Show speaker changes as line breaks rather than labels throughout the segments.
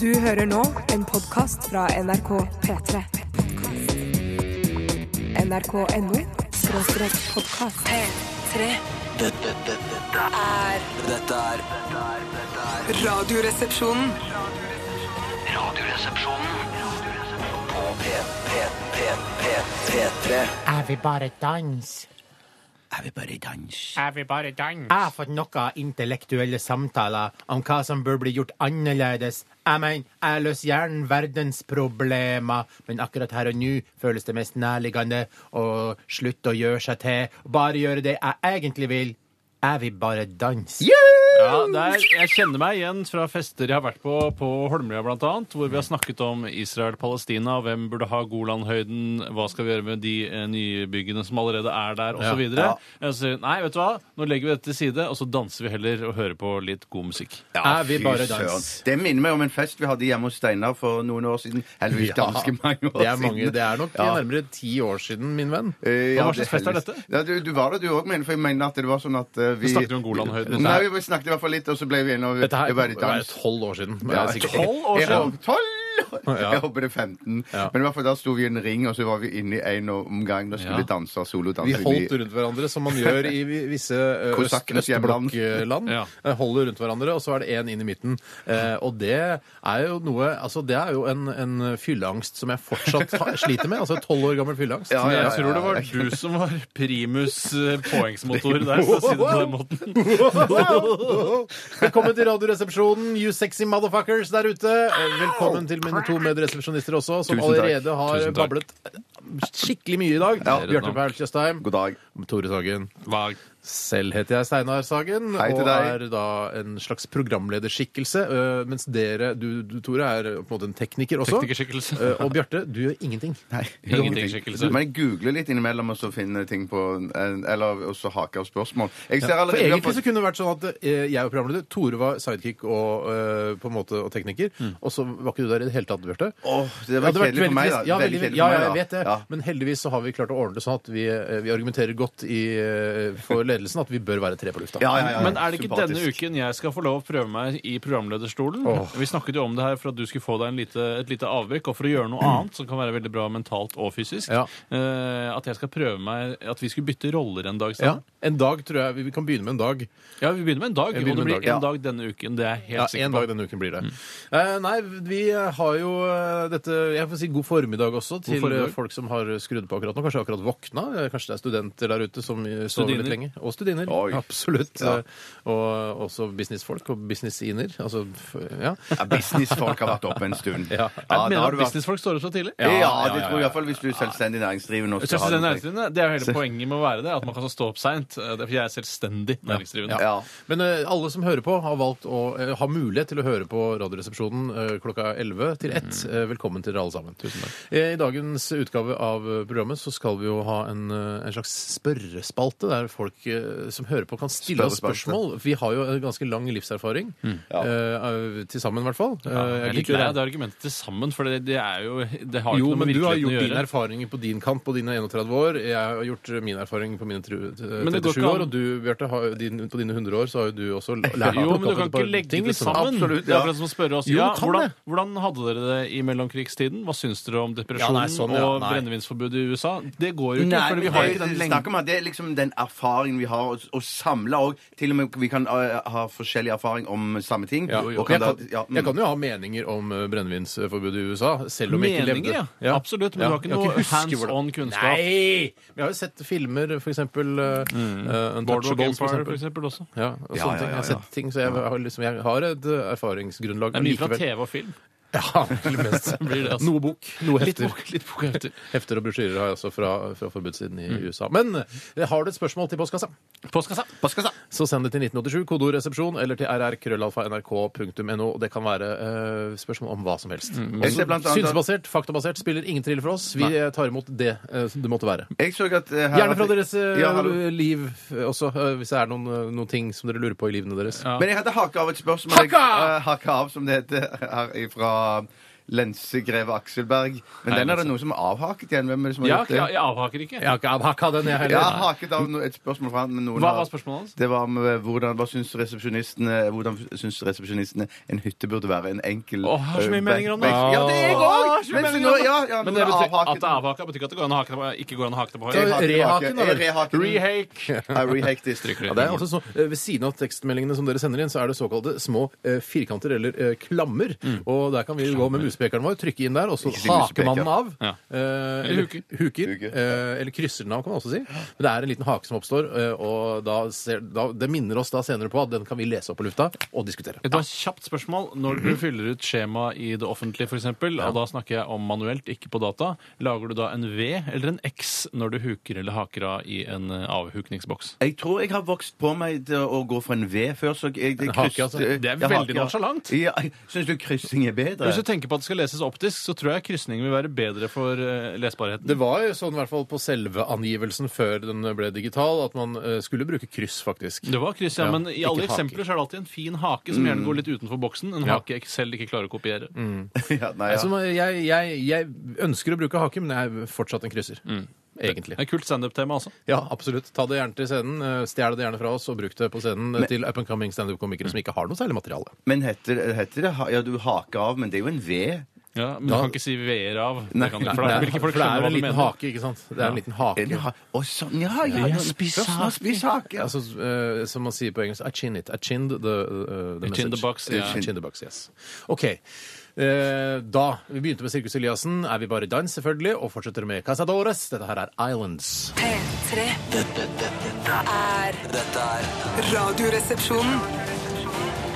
Du hører nå en podkast fra NRK P3. NRK.no skråstrek podkast. P3.
Dette, dette, dette,
er
dette er dette er- dette er
Radioresepsjonen.
Radioresepsjonen på P, P, P, P, P3.
Jeg vil bare danse.
Er vi bare i dans?
Jeg har fått nok av intellektuelle samtaler om hva som bør bli gjort annerledes. Jeg mener, jeg løser gjerne verdensproblemer, men akkurat her og nå føles det mest nærliggende å slutte å gjøre seg til. Bare gjøre det jeg egentlig vil. Jeg vil bare danse.
Ja, det er, jeg kjenner meg igjen fra fester jeg har vært på på Holmlia blant annet, hvor vi har snakket om Israel-Palestina, hvem burde ha Golanhøyden, hva skal vi gjøre med de eh, nye byggene som allerede er der,
Ja.
osv.
Ja.
sier Nei, vet du hva, nå legger vi dette til side, og så danser vi heller og hører på litt god musikk.
Jeg vil bare danse.
Det minner meg om en fest vi hadde hjemme hos Steinar for noen år siden. Heldigvis ganske mange år
Det er, mange,
siden.
det er nok
Ja.
nærmere ti år siden, min venn.
Eh, ja,
Hva slags
det
fest er
heldigvis.
dette?
Ja, du, du var der, du òg, men for jeg mener at det var sånn at eh, vi
snakket vi om Golanhøyden.
Nei, vi snakket i hvert fall litt, og så ble vi enige om
Dette her
det var i
er
dans.
tolv år siden. men
Ja,
jeg er sikker.
Tolv år
jeg
siden?
håper- Tolv!
Ja.
Jeg håper det er 15.
Ja.
Men i hvert fall da sto vi i en ring, og så var vi inne i en omgang. Da skulle
Ja.
vi danse solodansing.
Vi holdt rundt hverandre, som man gjør i vi- visse eh, øst-
Kosakkenes hjemland.
østblokkland.
Ja.
Eh, Holder rundt hverandre, og så er det én inn i midten. Eh, og det er jo noe Altså, det er jo en, en fylleangst som jeg fortsatt har, sliter med. Altså tolv år gammel fylleangst.
Ja, ja, ja,
Jeg tror det var du som var primus eh, poengsmotor der, for å si det på den måten.
Velkommen til Radioresepsjonen, you sexy motherfuckers der ute. Og Velkommen til mine to medresepsjonister også, som
Tusen takk.
allerede har
Tusen takk.
bablet skikkelig mye i dag.
Ja.
Bjarte Paul Tjøstheim.
God dag.
Tore Sagen.
Hva-
Selv heter jeg Steinar Sagen
Hei til
og
deg.
er da en slags programlederskikkelse. øh, Mens dere, du, du Tore, er på en måte en tekniker også.
Teknikerskikkelse.
Øh, og Bjarte, du gjør ingenting.
Nei,
Ingenting,
Du,
skikkelse.
men jeg googler litt innimellom og så finner jeg ting på Eller og så haker jeg opp spørsmål. Jeg ser
For
allerede vi har
egentlig så
fått-
kunne det vært sånn at øh, jeg var programleder, Tore var sidekick og, øh, på en måte, og tekniker, og så var ikke du der i det hele tatt, Bjarte.
Åh, det
Ja,
var
det hadde vært
kjedelig for meg, da.
veldig- Ja,
Veldig
veldig,
kjedelig
ja,
for
ja,
meg,
jeg
da.
vet det.
Ja.
Men heldigvis så har vi klart å ordne det sånn at vi, eh, vi argumenterer godt i, eh, for ledelsen at vi bør være tre på lufta.
Ja, ja, ja, ja.
Men er det ikke
Sympatisk.
denne uken jeg skal få lov å prøve meg i programlederstolen?
Åh.
Vi snakket jo om det her for at du skulle få deg en lite, et lite avbrekk, og for å gjøre noe annet som kan være veldig bra mentalt og fysisk.
Ja.
eh, at jeg skal prøve meg At vi skulle bytte roller en dag.
Ja,
Stein.
En dag tror jeg vi- Vi kan begynne med en dag.
ja, vi begynner med en dag.
Vi
Og
begynner
det
med
blir
en
en
dag, ja.
dag denne uken. Det er jeg helt
Ja,
sikker
en
på. Mm.
dag denne uken blir det. Eh, nei, vi eh, har jo eh, dette Jeg får si god formiddag også til
formiddag.
eh, folk som har skrudd på akkurat nå. Kanskje akkurat våkna. eh, Kanskje det er studenter der ute som eh, sover litt
Studiner.
lenge. Og studiner.
Oi.
Absolutt.
Ja.
Eh, Og også businessfolk og businessiner. Altså, f- ja.
Ja, Businessfolk har vært oppe en stund.
Ja.
Jeg
da
mener
har
at
du vært-
businessfolk står opp så tidlig.
Ja,
Ja,
det
ja,
tror jeg i hvert fall hvis du er selvstendig næringsdrivende. og skal ha
Selvstendig
noe-
næringsdrivende, Det er jo hele poenget med å være det. At man kan stå opp seint. Jeg er selvstendig næringsdrivende.
Ja.
Men eh, alle som hører på, har valgt å eh, ha mulighet til å høre på Radioresepsjonen eh, klokka 11 til 1. Eh, velkommen til dere alle sammen. Tusen takk. I dagens utgave av eh, programmet så skal vi jo ha en, eh, en slags spørrespalte, der folk eh, som hører på, kan stille oss spørsmål.
Spørrespalte.
Vi har jo en ganske lang livserfaring. eh, til sammen, i hvert fall. Eh,
Jeg er
jeg
litt
liker
lei
å-
av det argumentet til sammen, for det, det er jo Det har jo
Jo,
ikke noe
men
med
du har
virkeligheten å
gjort dine
gjøre.
erfaringer på din kant på dine 31 år. Jeg har gjort eh, min erfaring på mine tru- eh,
Men det går
37
ikke
år.
an-
Og du, Bjarte, har- din- på dine 100 år så har jo du også lært
Jo,
plukket
men du
opp
kan
et par
ikke legge
ting,
det
liksom.
sammen.
Absolutt,
Det er
ja.
akkurat som å spørre oss
Jo,
ja,
du kan
hvordan,
det.
hvordan hadde dere det i mellomkrigstiden. Hva syns dere om
Ja,
depresjonen
nei, sånn, ja,
og
nei.
brennevinsforbudet i USA? Det går jo ikke,
Nei,
for
men
vi har jo
det-
ikke den
det
lengden.
snakker om at Det er liksom den erfaringen vi har, og, og samla òg. Til og med vi kan eh, ha forskjellig erfaring om samme ting.
Ja,
og
jo, jeg,
kan da-
kan,
ja, mm.
jeg kan jo ha meninger om eh, brennevinsforbudet i USA, selv om jeg ikke levde
Meninger, ja. Absolutt. Men du har ikke noe hands on kunnskap.
Nei! Men jeg har jo sett filmer, for eksempel uh,
Mm. Boardwalk
Untouchables, for
Empire, for
eksempel.
eksempel også.
Ja, og
Ja,
sånne
ja,
ting. Jeg har
ja, ja.
sett ting, så jeg har, liksom, jeg har et eh, erfaringsgrunnlag.
Det er mye fra
allikevel.
TV og film.
Ja, til mest.
Blir det, altså.
Noe bok, noe
Litt
hefter.
bok, litt bok Mm. er ute.
Hefter og brosjyrer har jeg også fra, fra forbudssiden i USA. Men eh, har du et spørsmål til postkassa?
Postkassa.
Postkassa.
Så send det til 1987, kodeord resepsjon, eller til rrkrøllalfa.nrk.no. Det kan være eh, spørsmål om hva som helst.
Mm.
Jeg ser blant annet-
Synsbasert, faktabasert, spiller ingen trille for oss. Vi eh, tar imot det eh, det måtte være.
Jeg så at eh, her-
Gjerne fra deres eh,
Ja, hallo.
liv eh, også, eh, hvis det er noen, eh, noen ting som dere lurer på i livene deres.
Men jeg hadde haka av et spørsmål. Jeg,
Haka!
eh, haka av, som det heter her ifra Lensegreve Akselberg. Men
Nei,
den er
altså.
det noen som har avhaket igjen. Hvem er det som har
Ja,
gjort det?
jeg avhaker ikke.
Jeg har ikke avhakka den, jeg
Jeg har
heller.
haket av no- et spørsmål fra han. men Noen
Hva
har-
var spørsmålet hans?
Det var om eh, hvordan, hva syns resepsjonistene Hvordan syns resepsjonistene en hytte burde være? En enkel
Åh, har så mye
eh,
meninger om det.
benk- Ja, det er jeg
Åh, har
òg!
så mye
Men så
meninger
nå
om det.
ja, ja,
Men
nå
det
er
betyr at
avhaket.
det er avhaka, betyr ikke at det går an å hake det på, ikke går an å hake det på høyre.
Jeg
Ja.
haker
Rehaken,
tilbake. Jeg
eller?
rehaker.
Rehake.
Jeg rehaker det.
Stryker
Ja, det er også så, eh, Ved siden av tekstmeldingene som dere sender inn, så er det såkalte små eh, firkanter eller eh, klammer. Og der kan vi gå med muspekeren vår, trykke inn der, og så
Ikke si
haker man
musepeker.
den av.
Ja.
Eh, eller
Eller
huker.
huker.
Huker.
eh, eller krysser den av, kan man også si. Men det er en liten hake som oppstår, eh, og da ser, da, det minner oss da senere på at den kan vi lese opp på lufta og diskutere.
Et kjapt spørsmål. Når du fyller ut skjema i det offentlige, f.eks., eksempel, og da snakker jeg om manuelt, ikke på data, lager du da en V eller en X når du huker eller haker av i en eh, avhukningsboks?
Jeg tror jeg har vokst på meg til å gå for en V før. Så jeg, jeg,
En hake, altså.
kryss-
Det er
Ja,
veldig
hake, ja.
nonchalant.
Ja, Syns du kryssing er bedre?
Hvis du tenker på at det skal leses optisk, så tror jeg krysning vil være bedre for eh, lesbarheten.
Det var jo sånn i hvert fall på selve angivelsen før den ble digital, at man eh, skulle bruke kryss, faktisk.
Det var kryss, ja, Mm.
Ja,
men i
ikke
alle
hake.
eksempler så er det alltid en fin hake som gjerne går litt utenfor boksen. En hake jeg selv ikke klarer å kopiere.
ja, nei, ja.
Altså, jeg, jeg, jeg ønsker å bruke hake, men jeg er fortsatt en krysser.
Det
Egentlig.
er et kult standup-tema, altså.
Ja, absolutt. Ta det gjerne til scenen. eh, Stjel det gjerne fra oss og bruk det på scenen eh, til up and coming standup-komikere som ikke har noe særlig materiale.
Men heter, heter det ha- Ja, du haker av, men det er jo en V.
Ja, men
Da-
du kan ikke si V-er av.
Nei,
det kan du
nei,
ikke, for da vil ikke folk
for det
skjønne
er
hva
en
du
liten
mener.
hake, ikke sant? Det er en liten hake.
En ha- Å, sånn, ja, ja.
Jeg
ja.
spiser
Først nå spiser hake.
Altså, eh, som man sier på engelsk I chinned it. I chinned the, eh, the
I
message.
chinned the box,
I
ja.
chinned the box, yes. OK. Eh, da vi begynte med Sirkus Eliassen, er vi bare i dans, selvfølgelig, og fortsetter med Casadores. Dette her er Islands.
P3
Dette, dette, dette,
er
dette er
Radioresepsjonen.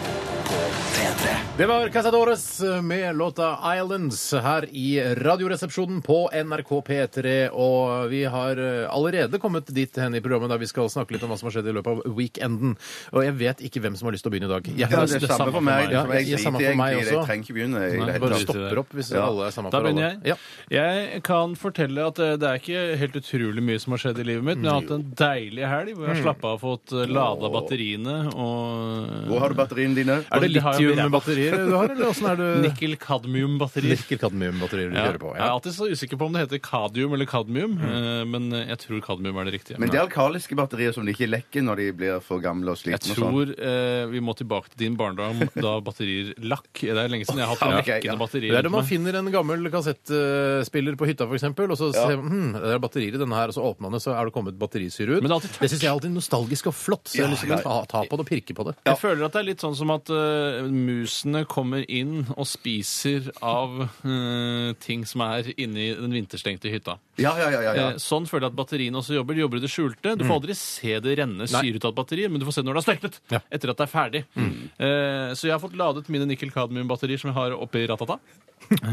P3.
Det var Casadores med låta 'Islands' her i Radioresepsjonen på NRK P3. Og vi har eh, allerede kommet dit hen i programmet der vi skal snakke litt om hva som har skjedd i løpet av weekenden. Og jeg vet ikke hvem som har lyst til å begynne i dag. Jeg,
Ja, det er samme for meg.
Ja,
Det er
jeg- samme
samme
for meg
Jeg
også.
trenger ikke begynne. i
Nei,
det hele
Bare
tatt.
stopper opp hvis
Ja.
alle er samme
Da
for alle.
begynner jeg.
Ja.
Jeg kan fortelle at eh, det er ikke helt utrolig mye som har skjedd i livet mitt, men jeg har hatt en deilig helg hvor jeg har slappa av og fått eh, lada batteriene
Hvor
og
har du batteriene dine?
Er det
De har jo
litiumbatterier du har, eller åssen er det
nikkel-kadmium-batterier.
Nikkel-kadmium-batterier du
Ja.
kjører på?
Jeg er alltid så usikker på om det heter kadium eller kadmium, eh, men jeg tror kadmium er det riktige.
Men det er alkaliske batterier som ikke lekker når de blir for gamle og
Jeg
slitne. og sånn.
tror eh, vi må tilbake til din barndom da batterier lakk. Det er lenge siden jeg har hatt
Ja, ok,
lakkende
ja.
batterier.
Det er når man
rundt meg.
finner en gammel kassettspiller på hytta, for eksempel, og så ser man hm, det er batterier i denne her, og så åpner man det, så er det kommet batterisyre ut.
Men det er alltid tørt.
syns jeg er alltid nostalgisk og flott, så jeg har lyst til å ta, ta på det og pirke på det.
Jeg føler at det er litt sånn som at eh, musene kommer inn og spiser av eh, ting som er inni den vinterstengte hytta.
Ja, ja, ja, ja, ja.
Eh, sånn føler jeg at batteriene også jobber. De jobber i det skjulte. Du får aldri se det renne syre ut av et batteri, men du får se det når det har størknet.
Ja.
Etter at det er ferdig. Eh, så jeg har fått ladet mine nikkel-kadmium-batterier som jeg har oppi ratata.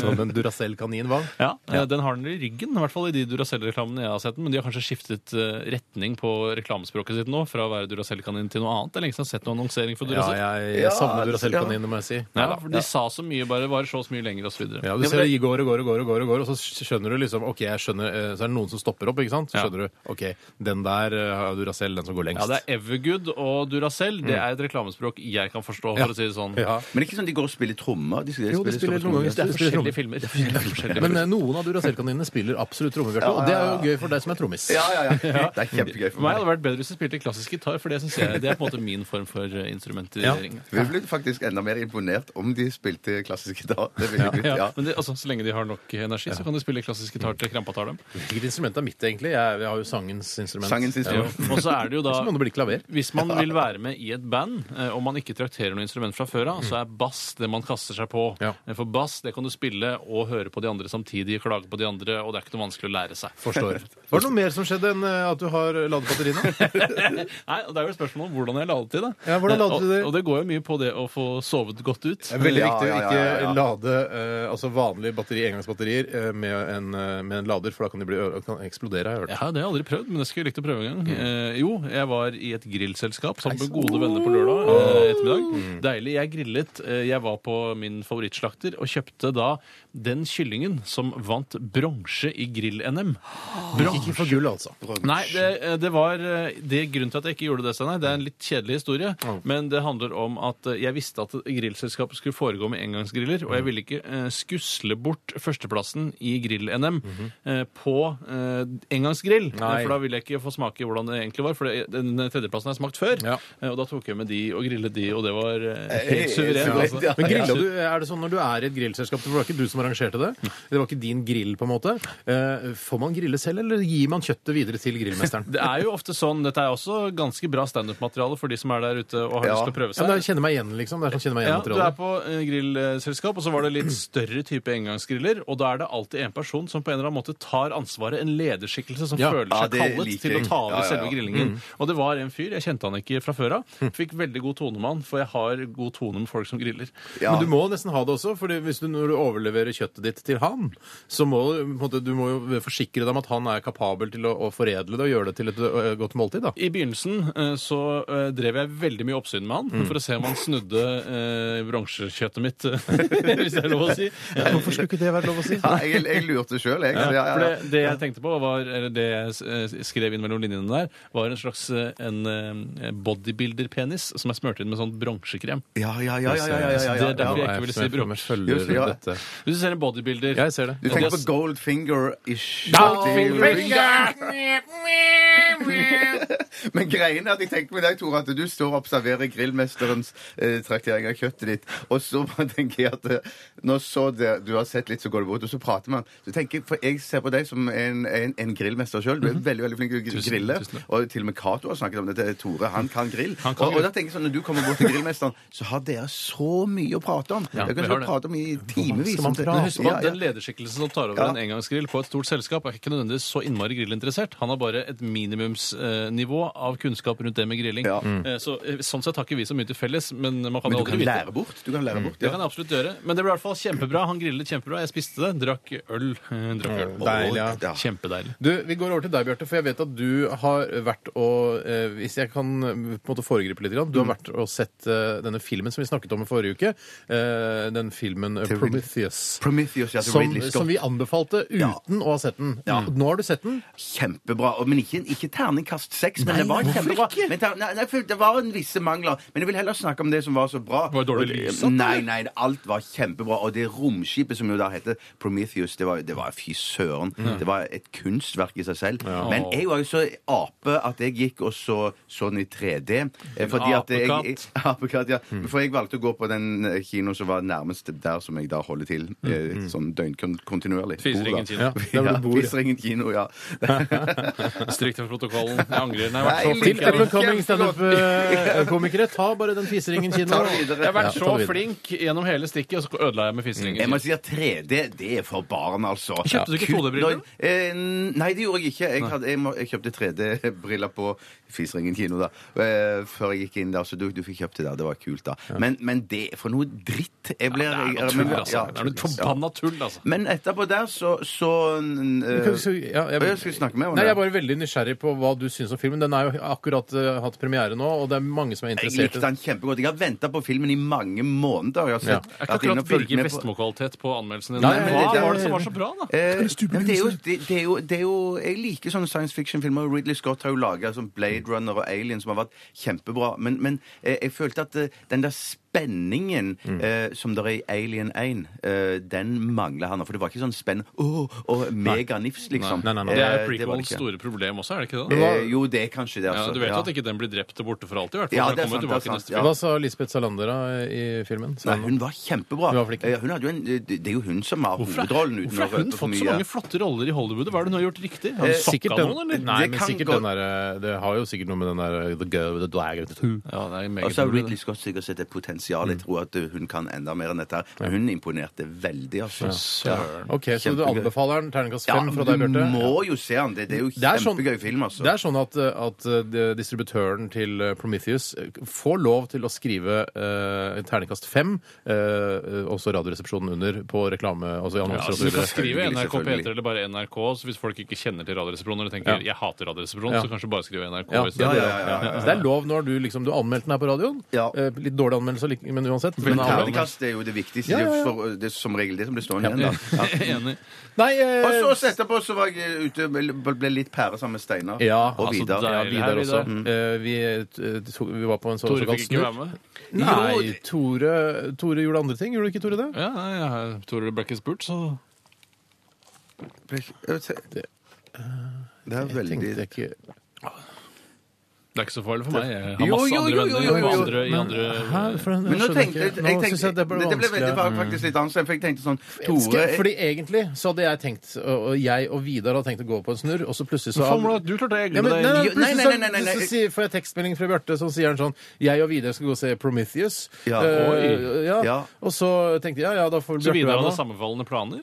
Som en Duracell-kanin var.
Ja, eh, Den har den i ryggen, i hvert fall i de Duracell-reklamene jeg har sett den. Men de har kanskje skiftet eh, retning på reklamespråket sitt nå, fra å være Duracell-kanin til noe annet. Det er lenge siden jeg har sett noen annonsering for
Ja,
Duracell. Ja,
jeg,
Ja,
jeg savner
det-
Duracell-kaniner, må jeg si.
for De sa så mye, bare varer så og så mye lenger
Ja,
osv.
du
Ja, men
ser
det-
de går og går og går, og går, og går, og så skjønner du liksom OK, jeg skjønner eh, Så er det noen som stopper opp, ikke sant? Så
Ja.
skjønner du OK, den der eh, har Duracell, den som går lengst.
Ja, det er Evergood og Duracell. Det er et reklamespråk jeg kan forstå,
Mm.
for
Ja.
å si det sånn.
Ja.
Men det er ikke sånn de går og spiller trommer? De skal
Jo, de spiller noen ganger.
Det
Spiller
er forskjellige
trommer.
filmer. Det er forskjellige
Men eh, noen av Duracell-kaninene spiller absolutt tromme, Bjarte. Og det er jo gøy for deg som er trommis.
Ja, ja, ja. Det er kjempegøy
For
for
meg hadde
meg.
det vært bedre hvis jeg spilte klassisk gitar, for det synes jeg det er på en måte min form for eh, instrumentering.
Vi ble faktisk enda mer imponert om de spilte klassisk gitar. Det ville blitt,
Ja,
ja.
men det, altså, Så lenge de har nok energi, så kan de spille klassisk gitar til krampa tar dem.
Hvilket instrument er mitt, egentlig? Jeg, jeg har jo sangens instrument.
Sangens instrument.
Og så er det jo da
Så må det bli klaver.
Hvis man vil være med i et band, eh, og man ikke trakterer noe instrument fra før av, så er bass det man kaster seg på.
Ja.
Eh, For bass det kan du spille og høre på de andre samtidig, klage på de andre, og det er ikke noe vanskelig å lære seg.
Forstår. Var det noe mer som skjedde enn eh, at du har ladet batteriene?
Nei, og Det er jo et spørsmål om hvordan jeg ladet til. da.
Ja, hvordan ladet
Eh, og,
du til?
Og det går jo mye på det å få sovet godt ut.
Det er veldig
Ja,
viktig å
ja, ja,
ikke
ja, ja.
lade eh, altså vanlige batteri, engangsbatterier eh, med en eh, med, med en lader, for da kan de bli, ø- kan eksplodere, har jeg hørt.
Ja, det har jeg aldri prøvd, men det skulle jeg likt å prøve en gang. Eh, jo, jeg var i et grillselskap sammen med
Mm. Nei, så-
gode venner på lørdag eh, ettermiddag. Deilig. Jeg grillet. Eh, jeg var på min favorittslakter og kjøpte da den kyllingen som vant bronse i grill-NM.
Ikke for gull, altså.
Nei, det, det var eh, det er grunnen til at jeg ikke gjorde det. Steinar. Det er en litt kjedelig historie. Men det handler om at eh, jeg visste at grillselskapet skulle foregå med engangsgriller, og jeg ville ikke eh, skusle bort førsteplassen i grill-NM eh, på eh, engangsgrill.
Mhm. Nei.
Eh, For da ville jeg ikke få smake hvordan det egentlig var, for det, den tredjeplassen har jeg smakt før.
Ja.
Eh, Og da tok jeg med de og grillet de, og det var eh, helt suverent.
suverent,
Altså.
ja.
Men grilla du, er det sånn når du er i et grillselskap, for det var ikke du som arrangerte det, det var ikke din grill på en måte, eh, får man grille selv, eller gir man kjøttet videre til grillmesteren?
Det er jo ofte sånn, Dette er også ganske bra standup-materiale for de som er der ute og har
Ja.
lyst til å prøve
Ja,
seg.
men jeg kjenner meg igjen, liksom. Det er sånn kjenner meg igjen
Ja, du er
materialet.
på eh, grillselskap, og så var det litt større type engangsgriller. Og da er det alltid en person som på en eller annen måte tar ansvaret, en lederskikkelse som
Ja.
føler
Ja,
seg
det
kallet
liker
til å
jeg.
ta over
Ja, Mm. ja, ja.
selve grillingen. Og det var en fyr, jeg kjente han ikke fra før av, fikk veldig god tone med han, for jeg har god tone med folk som griller.
Ja.
Men du må nesten ha det også, for hvis du, når du overleverer kjøttet ditt til han, så må du, på en måte, du må jo forsikre deg om at han er kapabel til å, å foredle det og gjøre det til et ø, godt måltid. da.
I begynnelsen eh, så eh, drev jeg veldig mye oppsyn med
Mm.
han for å se om han snudde eh, bronsekjøttet mitt, hvis det er lov å si.
Hvorfor skulle ikke det være lov å si?
Ja, jeg, jeg lurte sjøl, jeg. Ja, ja,
For
ja.
det, det jeg tenkte på, var, eller det jeg s- eh, skrev inn mellom linjene der, var en slags eh, en eh, bodybuilder-penis som er smurt inn med sånn bronsekrem.
Ja, ja, ja, ja, ja, ja, ja,
Det er
ja,
derfor
ja.
jeg ikke ville si
Jeg
bronse.
følger
Just det, ja.
dette.
Hvis du ser en bodybuilder
Jeg ser det.
Du tenker på Goldfinger-ish. Men greien er at jeg tenker med deg, Tore, at du står og observerer grillmesterens eh, traktering av kjøttet ditt, og så bare tenker jeg at eh, når så det, du har sett litt, så går det bort, og så prater man. Så tenker jeg, For jeg ser på deg som en, en, en grillmester sjøl. Du er veldig veldig flink til å gr-
Mhm. Tusen-
grille.
tusen takk.
Og til og med Cato har snakket om dette. Tore, han kan grill.
Han kan
og,
grill.
og da tenker jeg sånn, Når du kommer bort til grillmesteren, så har dere så mye å prate om.
Ja,
dere
vi har
kan sikkert
det.
prate om i timevis.
skal man
om det.
prate
Men husk på at
Ja, ja.
Den lederskikkelsen som tar over
Ja.
en engangsgrill på et stort selskap, er ikke nødvendigvis så innmari grillinteressert. Han har bare et minimumsnivå av kunnskap rundt det med grilling.
Ja.
Eh, Så, eh, sånn sett har ikke vi så mye til felles, men man kan
Men du
aldri
kan
vite.
lære bort. Du kan lære bort,
Mm. Det
ja.
kan jeg absolutt gjøre. Men det ble i hvert fall kjempebra. Han grillet kjempebra. Jeg spiste det, drakk øl. eh, Drakk øl.
Deilig, ja.
Mm, Ja.
Kjempedeilig.
Du, Vi går over til deg, Bjarte, for jeg vet at du har vært og eh, Hvis jeg kan eh, på en måte foregripe litt, grann, du
Mm.
har vært og sett eh, denne filmen som vi snakket om i forrige uke. Eh, den filmen eh,
Til Ridley-
Prometheus.
Prometheus, ja, til
Som,
Ridley Scott.
som vi anbefalte uten
Ja.
å ha sett den. Nå har du sett den.
Kjempebra. og- Men ikke, ikke terningkast seks. Men
Nei,
det var
hvorfor
kjempebra.
ikke?
Men ter, nei, nei, for det var en visse mangler. Men jeg vil heller snakke om det som var så bra.
Var det dårlig
Og-
lys, da?
Nei, nei, alt var kjempebra. Og det romskipet som jo da heter Prometheus, det var, det var fy søren. Det var et kunstverk i seg selv. Men jeg var jo så ape at jeg gikk og så så den i 3D. eh, Fordi at jeg,
apekatt.
jeg, Apekatt, ja. For jeg valgte å gå på den eh, kino som var nærmest der som jeg da holder til. eh, Sånn døgnkontinuerlig.
Fiseringen Mm. kino. Ja,
der hvor du bor, ja.
Fiseringen kino, ja.
Stryk den protokollen. Jeg angrer. Nei, jeg har
Nei,
vært så
litt
flink. Jeg har
opp-
vært-
Up-and-coming standup-komikere. eh, Ta bare den fiseringen kino.
Ta det videre.
jeg har
Ja,
vært
ta det
så
videre.
flink gjennom hele stikket, og så ødela jeg med
Jeg må
fisringen.
si at 3D, det er for barn, altså.
Kjøpte du ikke
Kun-
2D-briller?
Eh, nei, det gjorde jeg ikke. Jeg, hadde, jeg, må, jeg kjøpte 3D-briller på Fisringen kino da, eh, før jeg gikk inn der. Så du, du fikk kjøpt det der. Det var kult, da. Men, men det er for noe dritt. Jeg blir
Det er
jeg-
noe tull,
men- ja,
altså. Det er noe
tull, ja.
forbanna tull, altså.
Men etterpå der, så, så eh,
Kan du si- ja,
Å, jeg skulle snakke med om
Nei, Jeg
det.
er bare veldig nysgjerrig på hva du syns om filmen. Den er jo akkurat eh, hatt premiere nå, og det er mange som er
Jeg
interessert.
likte den kjempegodt. Jeg har venta på filmen i mange måneder. Jeg har sett,
Det er ikke
vært inne og
akkurat
fulgt
Birger
med på-
Vestmo-kvalitet på anmeldelsen din.
Nei, men
Hva
det- det-
var det som var så bra, da?
Eh, men det, er jo, det, det, er jo, det er jo Jeg liker sånne science fiction-filmer. og Ridley Scott har jo laga Blade Runner og Alien, som har vært kjempebra. Men, men eh, jeg følte at eh, den der spenningen
Mm.
eh, som der er i Alien 1, eh, den mangler han. For det var ikke sånn spenn Åh, og meganifs, liksom.
Nei, nei, nei.
Eh,
Det er jo
det var det
prequels
ikke.
store problem også, er det ikke det?
Eh, jo, det er kanskje
Ja,
det, altså.
du vet jo at ikke den blir drept og borte for alltid, i hvert fall.
Ja,
for
det er
den kommer jo
sant, det er
tilbake neste
sant, ja.
Hva sa Lisbeth Salander da, i filmen? Sa
Nei,
hun noe?
hun var kjempebra.
Hun var flink.
Eh, Hun hadde jo en, det det er jo hun som har
Hvorfor er-
hovedrollen. uten
Hvorfor
å
har hun
røpe for
fått så
mye.
mange flotte roller i Hollywood? Hva er det hun har gjort riktig? Har
Eh,
hun sokka
Sikkert den,
noen, eller?
nei,
Det
men
kan
sikkert
gå-
den der, eh, Det har Mm. jo sikkert noe med den der eh, The girl with the dragon
Ja, det er
Og så har
meget
Ridley Scott sikkert sett et potensial. Jeg tror at eh, hun kan enda mer enn dette her. Men Hun imponerte veldig, altså. Ja.
Ok, Så du
Kjempegøy.
anbefaler den terningkast
Ja,
fem fra deg,
du
Bjarte?
må jo se den. Det, det er jo
Det er sånn-
kjempegøy film, altså.
Det er sånn at, eh, at eh, de- distributøren til eh, Prometheus eh, får lov til å skrive eh, terningkast fem, eh, eh, også Radioresepsjonen under, på reklame, altså i
Ja,
annonser og
altså,
så
du kan
videre.
skrive
Selvfølgelig,
NRK P3
selvfølgelig.
eller bare NRK. Så hvis folk ikke kjenner til Radioresepsjonen eller tenker
Ja.
'jeg hater Radioresepsjonen',
Ja.
så kanskje bare skrive NRK.
Ja,
i
ja, ja,
stedet.
ja, ja, Så Det er lov når du liksom Du anmeldte den her på radioen.
Ja.
Eh, Litt dårlig anmeldelse, lik- men uansett.
Men
Men,
terningkast er jo det viktigste.
Ja, ja, ja.
For, det er som regel det som blir stående igjen, da. Ja.
Enig.
nei, eh,
Og så også etterpå så var jeg ute ble litt pære sammen med Steinar
Ja,
og
altså,
Vidar.
der-
ja, Vidar
Her, Vidar. Mm.
også. Eh, vi, eh, to, vi var på en sånn
Tore
såkalt
fikk ikke være
snup.
med.
Nei, Tore, Tore gjorde andre ting. Gjorde ikke Tore det?
Ja, nei, ja, Tore ble ikke spurt, så
Det er veldig
Tenkte jeg ikke
det er ikke så farlig for meg. Jeg har
Jo,
masse
jo,
andre
jo, jo,
venner
jo, jo,
og
jo.
andre i andre
Hæ? For den-
Men nå
skjønner
tenkte
jeg
jeg
ikke. Nå
tenkte,
synes jeg det ble
Det ble veldig,
vanskelig. Mm.
var faktisk litt annerledes, for jeg tenkte sånn Tore
Skal- Fordi egentlig så hadde jeg tenkt, og og jeg og Vidar hadde tenkt å gå på en snurr, og så plutselig så
Formel, du klarte jeg
Ja, men, nei, nei,
glemme
Jo,
deg.
nei,
plutselig
nei, nei, nei, nei.
så- så sier- får jeg tekstmelding fra Bjarte som sier han sånn 'Jeg og Vidar skal gå og se Prometheus'.
Ja,
Eh,
oi.
ja.
Ja.
Og så tenkte jeg ja, ja, da får
Så
Bjarte
Vidar
være
hadde
med.
sammenfallende planer.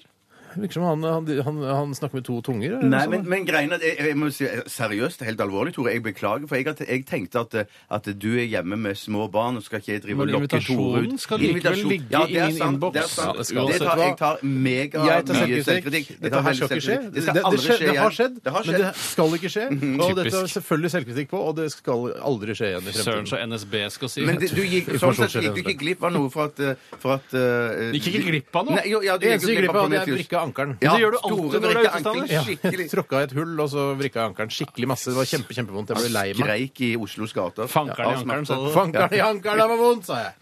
Virker som han, han, han, han snakker med to tunger. eller sånn?
Nei,
noe
men,
sånt.
men greien er, at jeg, jeg må si, Seriøst, helt alvorlig, Tore. Jeg beklager. For jeg, har- jeg tenkte at, at du er hjemme med små barn, og skal ikke jeg drive og
Men
lokke Tore
invitasjonen
ut?
skal likevel
Invitasjon-
ligge i
det er
min
sant,
innboks.
Det, er sant.
Ja, det skal
det
det.
tar, jeg tar mega
jeg tar
mye
selvkritikk.
selvkritikk. Jeg
Dette
tar
her
veldig
skal ikke skje.
selvkritikk.
Det,
Det skal
det, det,
aldri
skje,
skje
det har
igjen.
skjedd,
Det har
men det
skjedd.
skal ikke skje. Og dette er
Typisk.
selvfølgelig selvkritikk på, og det skal aldri skje igjen i
Søren
fremtiden.
så NSB skal si.
Men det, du gikk, sånn sett gikk du ikke glipp av noe for at, eh, for at eh,
Gikk ikke glipp av noe?
Nei, jo, ja, du
Det
gikk
eneste
jo
vi
glipp
glipper
av
av, det er
Prometheus.
vrikka ankelen.
Ja,
Det gjør du
store
alltid når du er
vrikka
ute, Steinar.
ankelen,
Ja,
Skikkelig.
tråkka i et hull, og så vrikka jeg ankelen skikkelig masse. Det var kjempe, kjempevondt. Jeg ble lei meg.
Skreik i Oslos gater.
Fankeren i
Av
ankeren,
smerte.
sa du.
Fankeren i ankelen, det var vondt, sa jeg.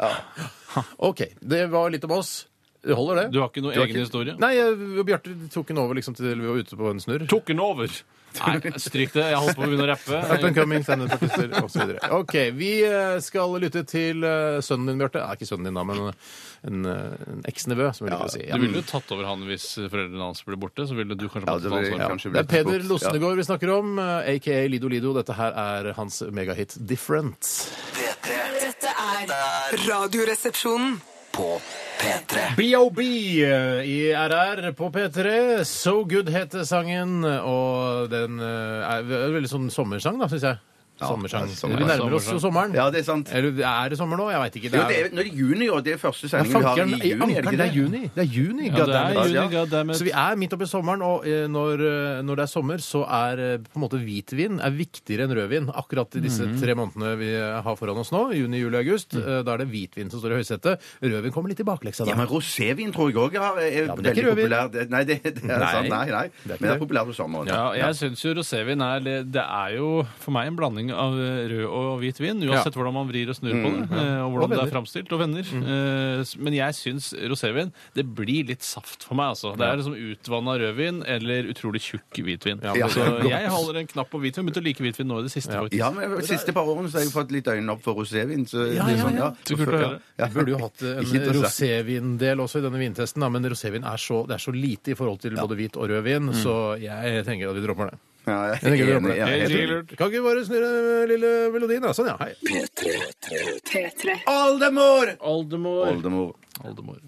OK. Det var litt om oss. Det holder, det.
Du har ikke noe egen historie?
Nei, jeg- Bjarte tok den over liksom til vi var ute på en snurr.
Tok den over! Nei, stryk det. Jeg holdt på å begynne å
Up and
rappe.
coming, standup-artister osv. OK. Vi eh, skal lytte til eh, sønnen din, Bjarte. Nei, ikke sønnen din, da, men en, eh, en eksnevø, som vi liker å si. Ja.
Du ville jo tatt over han hvis foreldrene hans ble borte. Så ville du kanskje
Ja,
måtte
det
ta
blir
ansvaret.
kanskje
Det er Peder
bort. Ja.
Losnegård vi snakker om, eh, aka Lido Lido. Dette her er hans megahit 'Different'.
P3
Dette er Radioresepsjonen.
på P3
BOB eh, i RR på P3. So Good heter sangen, og den eh, er ve- veldig sånn sommersang, da, syns jeg. Sommersang.
det er sommer-
vi nærmer oss jo sommeren.
Ja, det er sant.
Eller er det sommer nå? Jeg veit ikke.
Jo, det er, nå er det juni, og det er første
Ja,
sendingen vi har i
fankeren, i
juni. er det
ankeren,
ikke
det er juni. Det er juni,
Ja, det
goddammit.
er juni,
Ja.
goddammit.
Så vi er midt oppi sommeren, og eh, når, eh, når det er sommer, så er eh, på en måte hvitvin er viktigere enn rødvin. Akkurat i disse
Mhm.
tre månedene vi eh, har foran oss nå, juni, juli, august,
Mm.
eh, da er det hvitvin som står i høysetet. Rødvin kommer litt i bakleksa
Ja,
da.
men rosévin tror jeg òg er, er
men det er
veldig
ikke rødvin.
populær. Det, nei, det, det er
Nei.
sant. Nei, nei.
er ikke
men det
det.
er populær på sommeren.
Ja, jeg syns jo rosévin er Det er jo for meg en blanding av eh, rød og hvit vin, uansett hvordan man vrir og snur
Mm,
på det, eh, og hvordan
Og
det er
venner.
framstilt, og venner. Eh, s- Men jeg syns rosévin Det blir litt saft for meg, altså. Det er liksom utvanna rødvin eller utrolig tjukk hvitvin.
men-
Så
Ja.
jeg holder en knapp på hvitvin. Begynte å like hvitvin nå i det siste, faktisk.
Ja, men De siste par årene så har jeg fått litt øynene opp for rosévin. Så det
Ja,
er
ja,
sånn,
ja.
ja.
Så kult å høre.
Ja.
Vi burde jo hatt eh,
Ikke
en
interessant.
rosévindel også i denne vintesten, da, men rosévin er så, det er så lite i forhold til både hvit og rødvin, så jeg tenker at vi dropper det.
Ja, Mm. jeg
Jeg tenker vi
er
dropper
enig.
det.
Ja, helt enig.
Kan ikke vi bare snurre den lille melodien, da? Sånn, ja. Hei.
P3.
Oldemor!
Oldemor.
Oldemor.
Oldemor.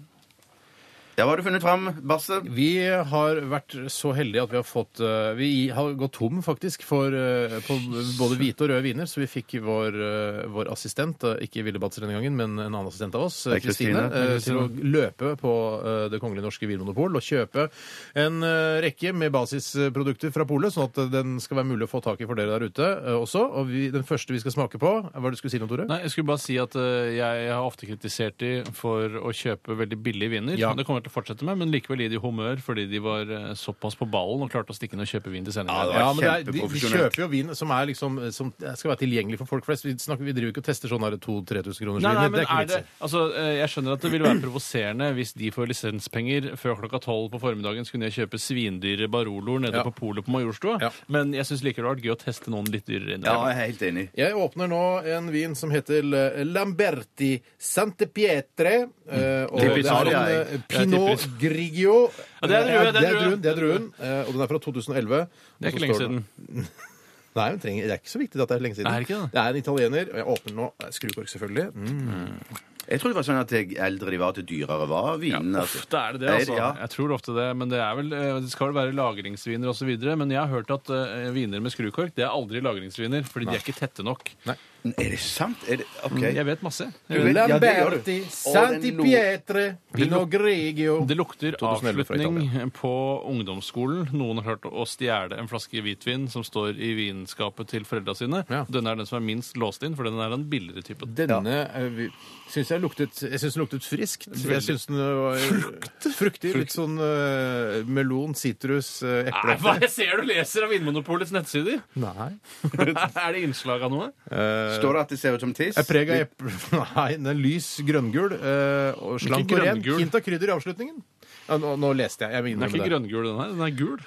Ja, hva har du funnet fram, Basse?
Eh, Vi har vært så heldige at vi har fått eh, Vi har gått tom, faktisk, for eh, på både hvite og røde viner, så vi fikk vår, eh, vår assistent, eh, ikke Ville Batzer denne gangen, men en annen assistent av oss, eh,
Det er Kristine.
Kristine, eh, til å løpe på eh, Det kongelige norske vinmonopol og kjøpe en eh, rekke med basisprodukter fra polet, sånn at eh, den skal være mulig å få tak i for dere der ute eh, også. Og vi, den første vi skal smake på Hva var det du skulle si nå, Tore?
Nei, Jeg skulle bare si at eh, jeg har ofte kritisert de for å kjøpe veldig billige viner.
Ja.
Det kommer jeg til å fortsette med, men likevel gir de humør fordi de var eh, såpass på ballen og klarte å stikke inn og kjøpe vin til sendingen.
Ja, det var-
Ja, men det er, de, de
kjempeprofesjonelt.
kjøper jo vin som, er liksom, som skal være tilgjengelig for folk flest. Vi, snakker, vi driver jo ikke og tester sånn sånne 2000-3000 kroners
Nei, nei,
viner.
men
Det er ikke
er
vits
det,
i.
altså, eh, jeg skjønner at det vil være provoserende hvis de får lisenspenger før klokka tolv på formiddagen. Så kunne jeg kjøpe svindyre Baroloer nede
Ja.
på polet på Majorstua.
Ja.
Men jeg syns likevel det har vært gøy å teste noen litt dyrere
Ja,
inn.
jeg er helt enig.
Jeg åpner nå en vin som heter eh, Lamberti Santepietre. eh, Og det er en
Typisk Italia,
eh,
jeg.
Pinot
typisk.
Grigio.
Ja, det er drue, det er drue.
druen, det er druen. eh, Og den er fra 2011.
Det er ikke lenge siden.
Nei, men trenger, det er ikke så viktig at det er lenge siden.
Er det ikke det?
er en italiener. Og jeg åpner nå. eh, Skrukork, selvfølgelig. Mm.
Jeg tror det var sånn at det eldre de var, til dyrere var vinen. altså.
Ofte er det det, altså.
Ja.
Jeg tror ofte det, men det, er vel, eh, det skal vel være lagringsviner osv. Men jeg har hørt at eh, viner med skrukork det er aldri lagringsviner, fordi de er ikke tette nok.
Er det sant? Er det,
Mm,
ok.
Jeg vet masse.
Du vet- ja, det gjør du.
Lamberti,
Å, den
Santi
lo-
Pietre, Pinot Grigio
Det lukter
2011 fra
avslutning på ungdomsskolen. Noen har klart å stjele en flaske hvitvin som står i vinskapet til foreldra sine.
Ja.
Denne er den som er minst låst inn, for den er den billigere typen.
Denne ja. syns jeg luktet Jeg synes den luktet friskt. Jeg synes den var fruktig. Litt sånn eh, melon, sitrus, eh,
Nei,
eple.
hva jeg ser du leser av Vinmonopolets nettsider?
Nei.
er det innslag av noe?
Står det at det ser ut som tiss?
Jeg preg Eh, av eple Nei, den er lys grønngul. eh, og slank og ren.
grønngul.
Hint av krydder i avslutningen. Ja, nå, nå leste jeg. Jeg må
Den er
innrømme
ikke
det.
grønngul, den her. Den er gul.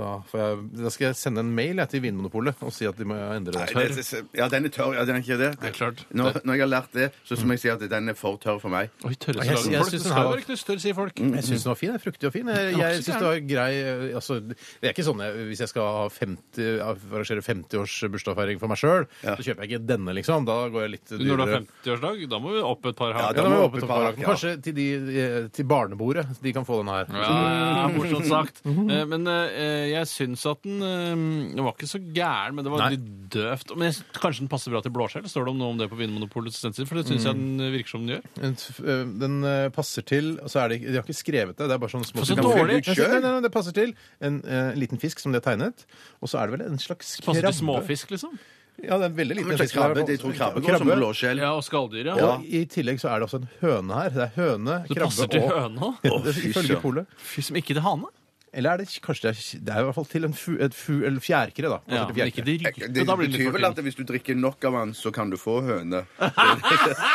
Da, får jeg, da skal jeg sende en mail jeg, til Vinmonopolet og si at de må endre det.
Nei, det- det- Ja, den er tørr. Ja, den er ikke det.
Det er klart.
Når, når jeg har lært det, så må jeg si at den er for tørr for meg.
Oi, tørre
Jeg-
slager.
jeg synes
Folk, det
den Mm,
skal
her-
være knusktørr, sier folk.
Jeg syns den var fin. jeg. Fruktig og fin. Jeg,
var ikke
jeg
så
syns det var grei eh, altså, Det er ikke sånn jeg, hvis jeg skal ha 50, arrangere 50-års bursdagsfeiring for meg sjøl,
Ja.
så kjøper jeg ikke denne, liksom. Da går jeg litt
Når du har
dyrere.
50-årsdag, da må vi opp et par
Ja,
her.
Ja, da må vi åpne
opp i
for
parakk,
parakk.
ja.
Kanskje til, de, eh, til barnebordet. så De kan få denne her.
Ja, morsomt sagt. Eh, Men eh, jeg syns at den eh, Den var ikke så gæren, men det var
Nei.
litt døvt. Men jeg, syns- kanskje den passer bra til blåskjell? Står det om noe om det på Vinmonopolets nettsider? For det syns jeg den virker som den gjør.
En f- eh, Den eh, passer til og så er det, ikke- De har ikke skrevet det. Det er bare sånn små
For så
Du kan fylle
dårlig.
ut selv. Nei, nei, nei, det passer til en eh, liten fisk som de har tegnet. Og så er det vel en slags
Passer
krabbe.
til småfisk, liksom.
Ja, det er en veldig liten
Men så
fisk. der,
krabbe,
altså.
de tror krabbe går som blåskjell.
Ja, og skalldyr, ja.
Og I tillegg så er det også en høne her. Det er høne,
Det passer
krabbe
til
og
høna.
Det er Ifølge
søren.
polet.
Fy som ikke til hane.
Eller er det kanskje det er, det er i hvert fall til en fu, et fu, eller fjærkre, da.
Ja,
Passer til
men ikke de
Det,
rype. Da blir det
betyr
litt
vel at
fortid.
hvis du drikker nok av den, så kan du få høne.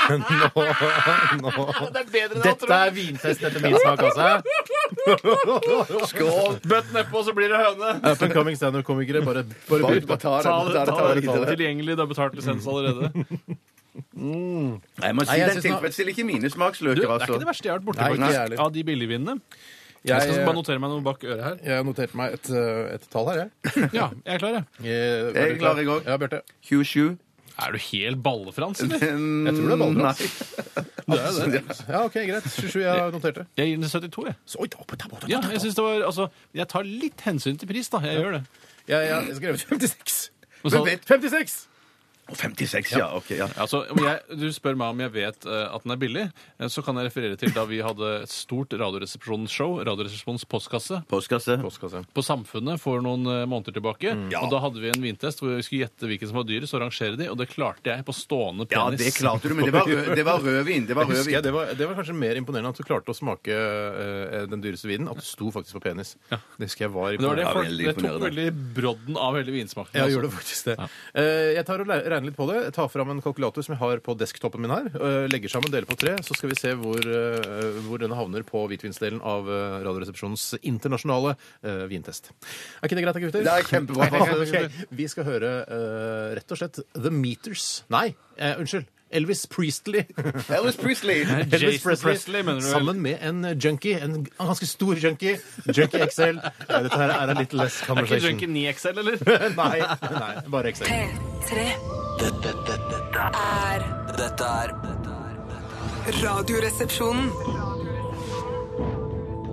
fjærkre. Nå, nå. Dette er vintest etter min smak, altså.
Skål!
Bøtt nedpå, så blir det høne.
Up and coming standup-komikere. Bare, bare
Bare,
bruk
bare
det.
ta det.
Ta det,
ta det, ta det, ta det.
Tilgjengelig, det er betalt lisens allerede.
Nei, jeg må
Nei, jeg
si Den
synes nå-
tilfredsstiller ikke mine
Du,
smaksløker,
det er ikke
altså.
det verste jeg har vært borti
Nei, ikke
faktisk,
jeg
av de billigvinene. Jeg
Jeg,
skal bare notere meg noe bak øret her.
jeg noterte meg et, eh, et tall her, jeg.
Ja, jeg er klar, jeg.
Eh,
Jeg er
du
klar, jeg også.
Ja, Bjarte.
27.
Er du helt ballefrans, eller?
Jeg
tror det er ballross.
Nei. Mm,
Ja, OK, greit. 27, jeg har notert det.
Jeg gir den 72, jeg.
Så, oi, da, da, da, da, da.
Ja, jeg synes det var, altså, jeg tar litt hensyn til pris, da. Jeg gjør det.
Jeg jeg har skrevet 56.
Og så-
Men vet-
56!
Og 56, ja. Ok, ja.
altså, om jeg, du spør meg om jeg vet eh, at den er billig, eh, så kan jeg referere til da vi hadde et stort radioresepsjonsshow, Radioresepsjons postkasse,
Postkasse.
på Samfunnet for noen eh, måneder tilbake.
Mm.
Og da hadde vi en vintest hvor vi skulle gjette hvilken som var dyrest, og rangere de, og det klarte jeg på stående
Ja,
penis.
det klarte du, men det var, rød, det var rødvin. Det var
Husker jeg,
rødvin.
det, var, det var kanskje mer imponerende at du klarte å smake eh, den dyreste vinen. At du sto faktisk på penis. Det husker jeg var
Men det, var det,
imponerende.
folk,
veldig
det tok
imponerende.
veldig brodden av hele vinsmaken.
Ja,
altså.
jeg gjør det faktisk det. Eh, jeg tar og le- regner litt på det. Jeg tar fram en kalkulator som jeg har på desktoppen min her. eh, legger sammen, deler på tre, så skal vi se hvor, eh, hvor denne havner på hvitvinsdelen av eh, Radioresepsjonens internasjonale eh, vintest. Er ikke det greit, da, gutter?
Det er kjempebra.
Ok, Vi skal høre eh, rett og slett The Meters. Nei, eh, unnskyld. Elvis Priestley.
Elvis Presley.
Elvis
Jason Presley, mener du vel?
Sammen med en junkie, en ganske stor junkie. Junkie XL. Ja, Dette her er en little less
Det er ikke
conversation.
Junkie 9XL, eller?
Nei, nei, bare XL.
P3
Dette, dette, dette,
er
er- dette er dette er-
Radioresepsjonen.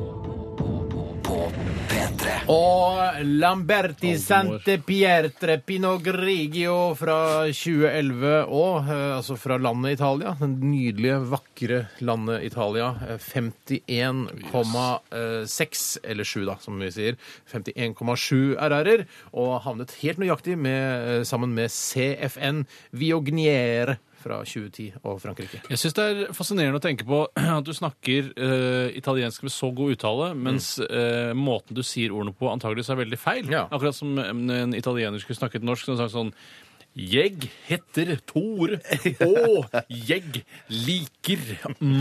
på P3.
Og Lamberti Sante Pietre Pino Grigio fra 2011 og eh, altså fra landet Italia. Den nydelige, vakre landet Italia. Eh, 51,6 eller 7, da, som vi sier. 51,7 RR-er. Og havnet helt nøyaktig med, eh, sammen med CFN Viogniere fra 2010 og Frankrike.
Jeg syns det er fascinerende å tenke på at du snakker eh, italiensk med så god uttale, mens eh, måten du sier ordene på antageligvis er veldig feil.
Ja.
Akkurat som en en italiener skulle snakket norsk og sagt sånn jeg heter Tor, og jeg liker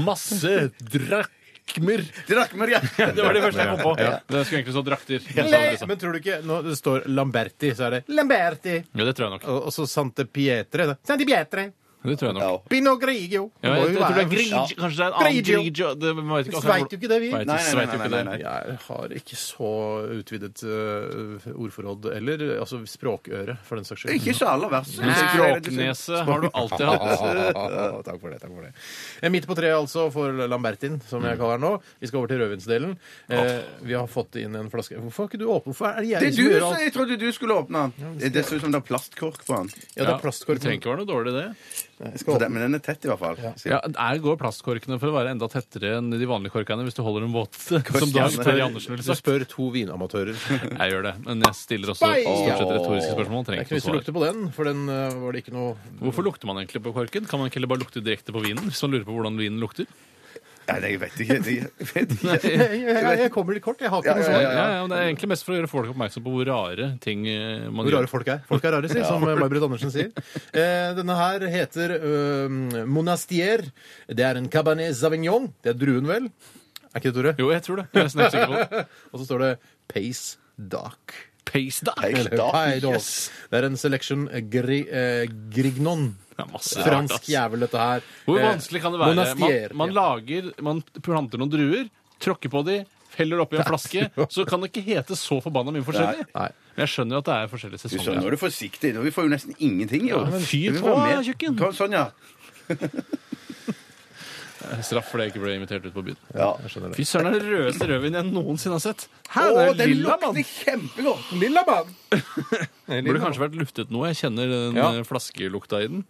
masse drakmer.
Drakmer, ja.
Det var det første jeg kom på. Det skulle egentlig stå drakter. Men så hadde det sånn.
Men tror du ikke Når det står Lamberti, så er det Lamberti.
Ja, det tror jeg nok.
Og og så Sante Pietre. da. Sante Pietre.
Det tror jeg nok.
Ja.
Bino Grigio.
Ja,
må
jeg,
jo
jeg tror det
være-
er Grigio. Kanskje det er en annen altså,
Grigio.
Grigio. Det, vi vet ikke,
Sveit jo ikke det, vi.
Vet-
Nei, nei,
sveit jo
nei, nei,
ikke
nei,
det.
nei.
Jeg har ikke så utvidet eh, ordforråd eller altså språkøre, for den saks skyld.
Ikke så aller verst. synes jeg.
Språknese har du alltid hatt.
takk for det. takk for det. Eh, Midt på treet altså for Lambertin, som
Mm.
jeg kaller den nå. Vi skal over til rødvinsdelen. Eh, vi har fått inn en flaske Hvorfor har ikke du åpen? Hvorfor er det jeg
Det er
som
du
gjør
som
alt?
jeg trodde du skulle åpne den. Det ser ut som det er plastkork på den.
Ja, det er
Det trenger
plastkorken.
ikke være noe dårlig, det.
For den- Men den er tett, i hvert fall.
Ja, der går plastkorkene for å være enda tettere enn de vanlige korkene hvis du holder dem våt. Som Dag Terje Andersen ville
Du
sagt.
spør to vinamatører. Det
Jeg gjør det, men jeg stiller også
Spei!
stort sett retoriske spørsmål.
er
Trenger
ikke noe
ikke
vits i å
noe svar.
lukte på den, for den eh, var det ikke noe
Hvorfor lukter man egentlig på korken? Kan man ikke heller bare lukte direkte på vinen? Hvis man lurer på hvordan vinen lukter?
Nei, jeg vet ikke. Jeg vet ikke.
Jeg, jeg, jeg kommer litt kort. Jeg har ikke noe
Ja,
Ja,
svar.
ja, ja.
ja, men Det er egentlig mest for å gjøre folk oppmerksom på hvor rare ting eh, man
Hvor rare
gjør.
folk er. Folk er rare, sier, som May-Britt Andersen sier. Eh, denne her heter eh, Monastier. Det er en Cabernet Savignon. Det er druen, vel? Er ikke det, Tore?
Jo, jeg tror det. Jeg er nesten helt sikker på det.
Og så står det Pace Dark.
Pace, da!
Pace.
Eller
Dark,
Pay Dark.
yes.
Det er en selection gri, eh, Grignon.
Det er masse rart, altså. ass.
Fransk jævel, dette her.
Hvor
Eh,
vanskelig kan det være?
Monastier.
Man, man lager, man planter noen druer, tråkker på de, heller oppi en flaske, så kan det ikke hete så forbanna mye forskjellig.
Nei.
Men jeg skjønner jo at det er forskjellige
Du
sesonger.
skjønner, nå er du forsiktig. Nå, vi får jo nesten ingenting, jo.
men fyr
Vi
på,
får mer.
ja, tjukken.
Ta- Sånn, ja.
Straff for det jeg ikke ble invitert ut på byen.
ja.
Fy søren, det er den rødeste rødvinen jeg noensinne har sett. Hæ,
Å,
det er
den
lilla, mann!
lukter kjempegodt!
Lilla mann!
Burde kanskje vært luftet noe. Jeg kjenner den eh, flaskelukta i den.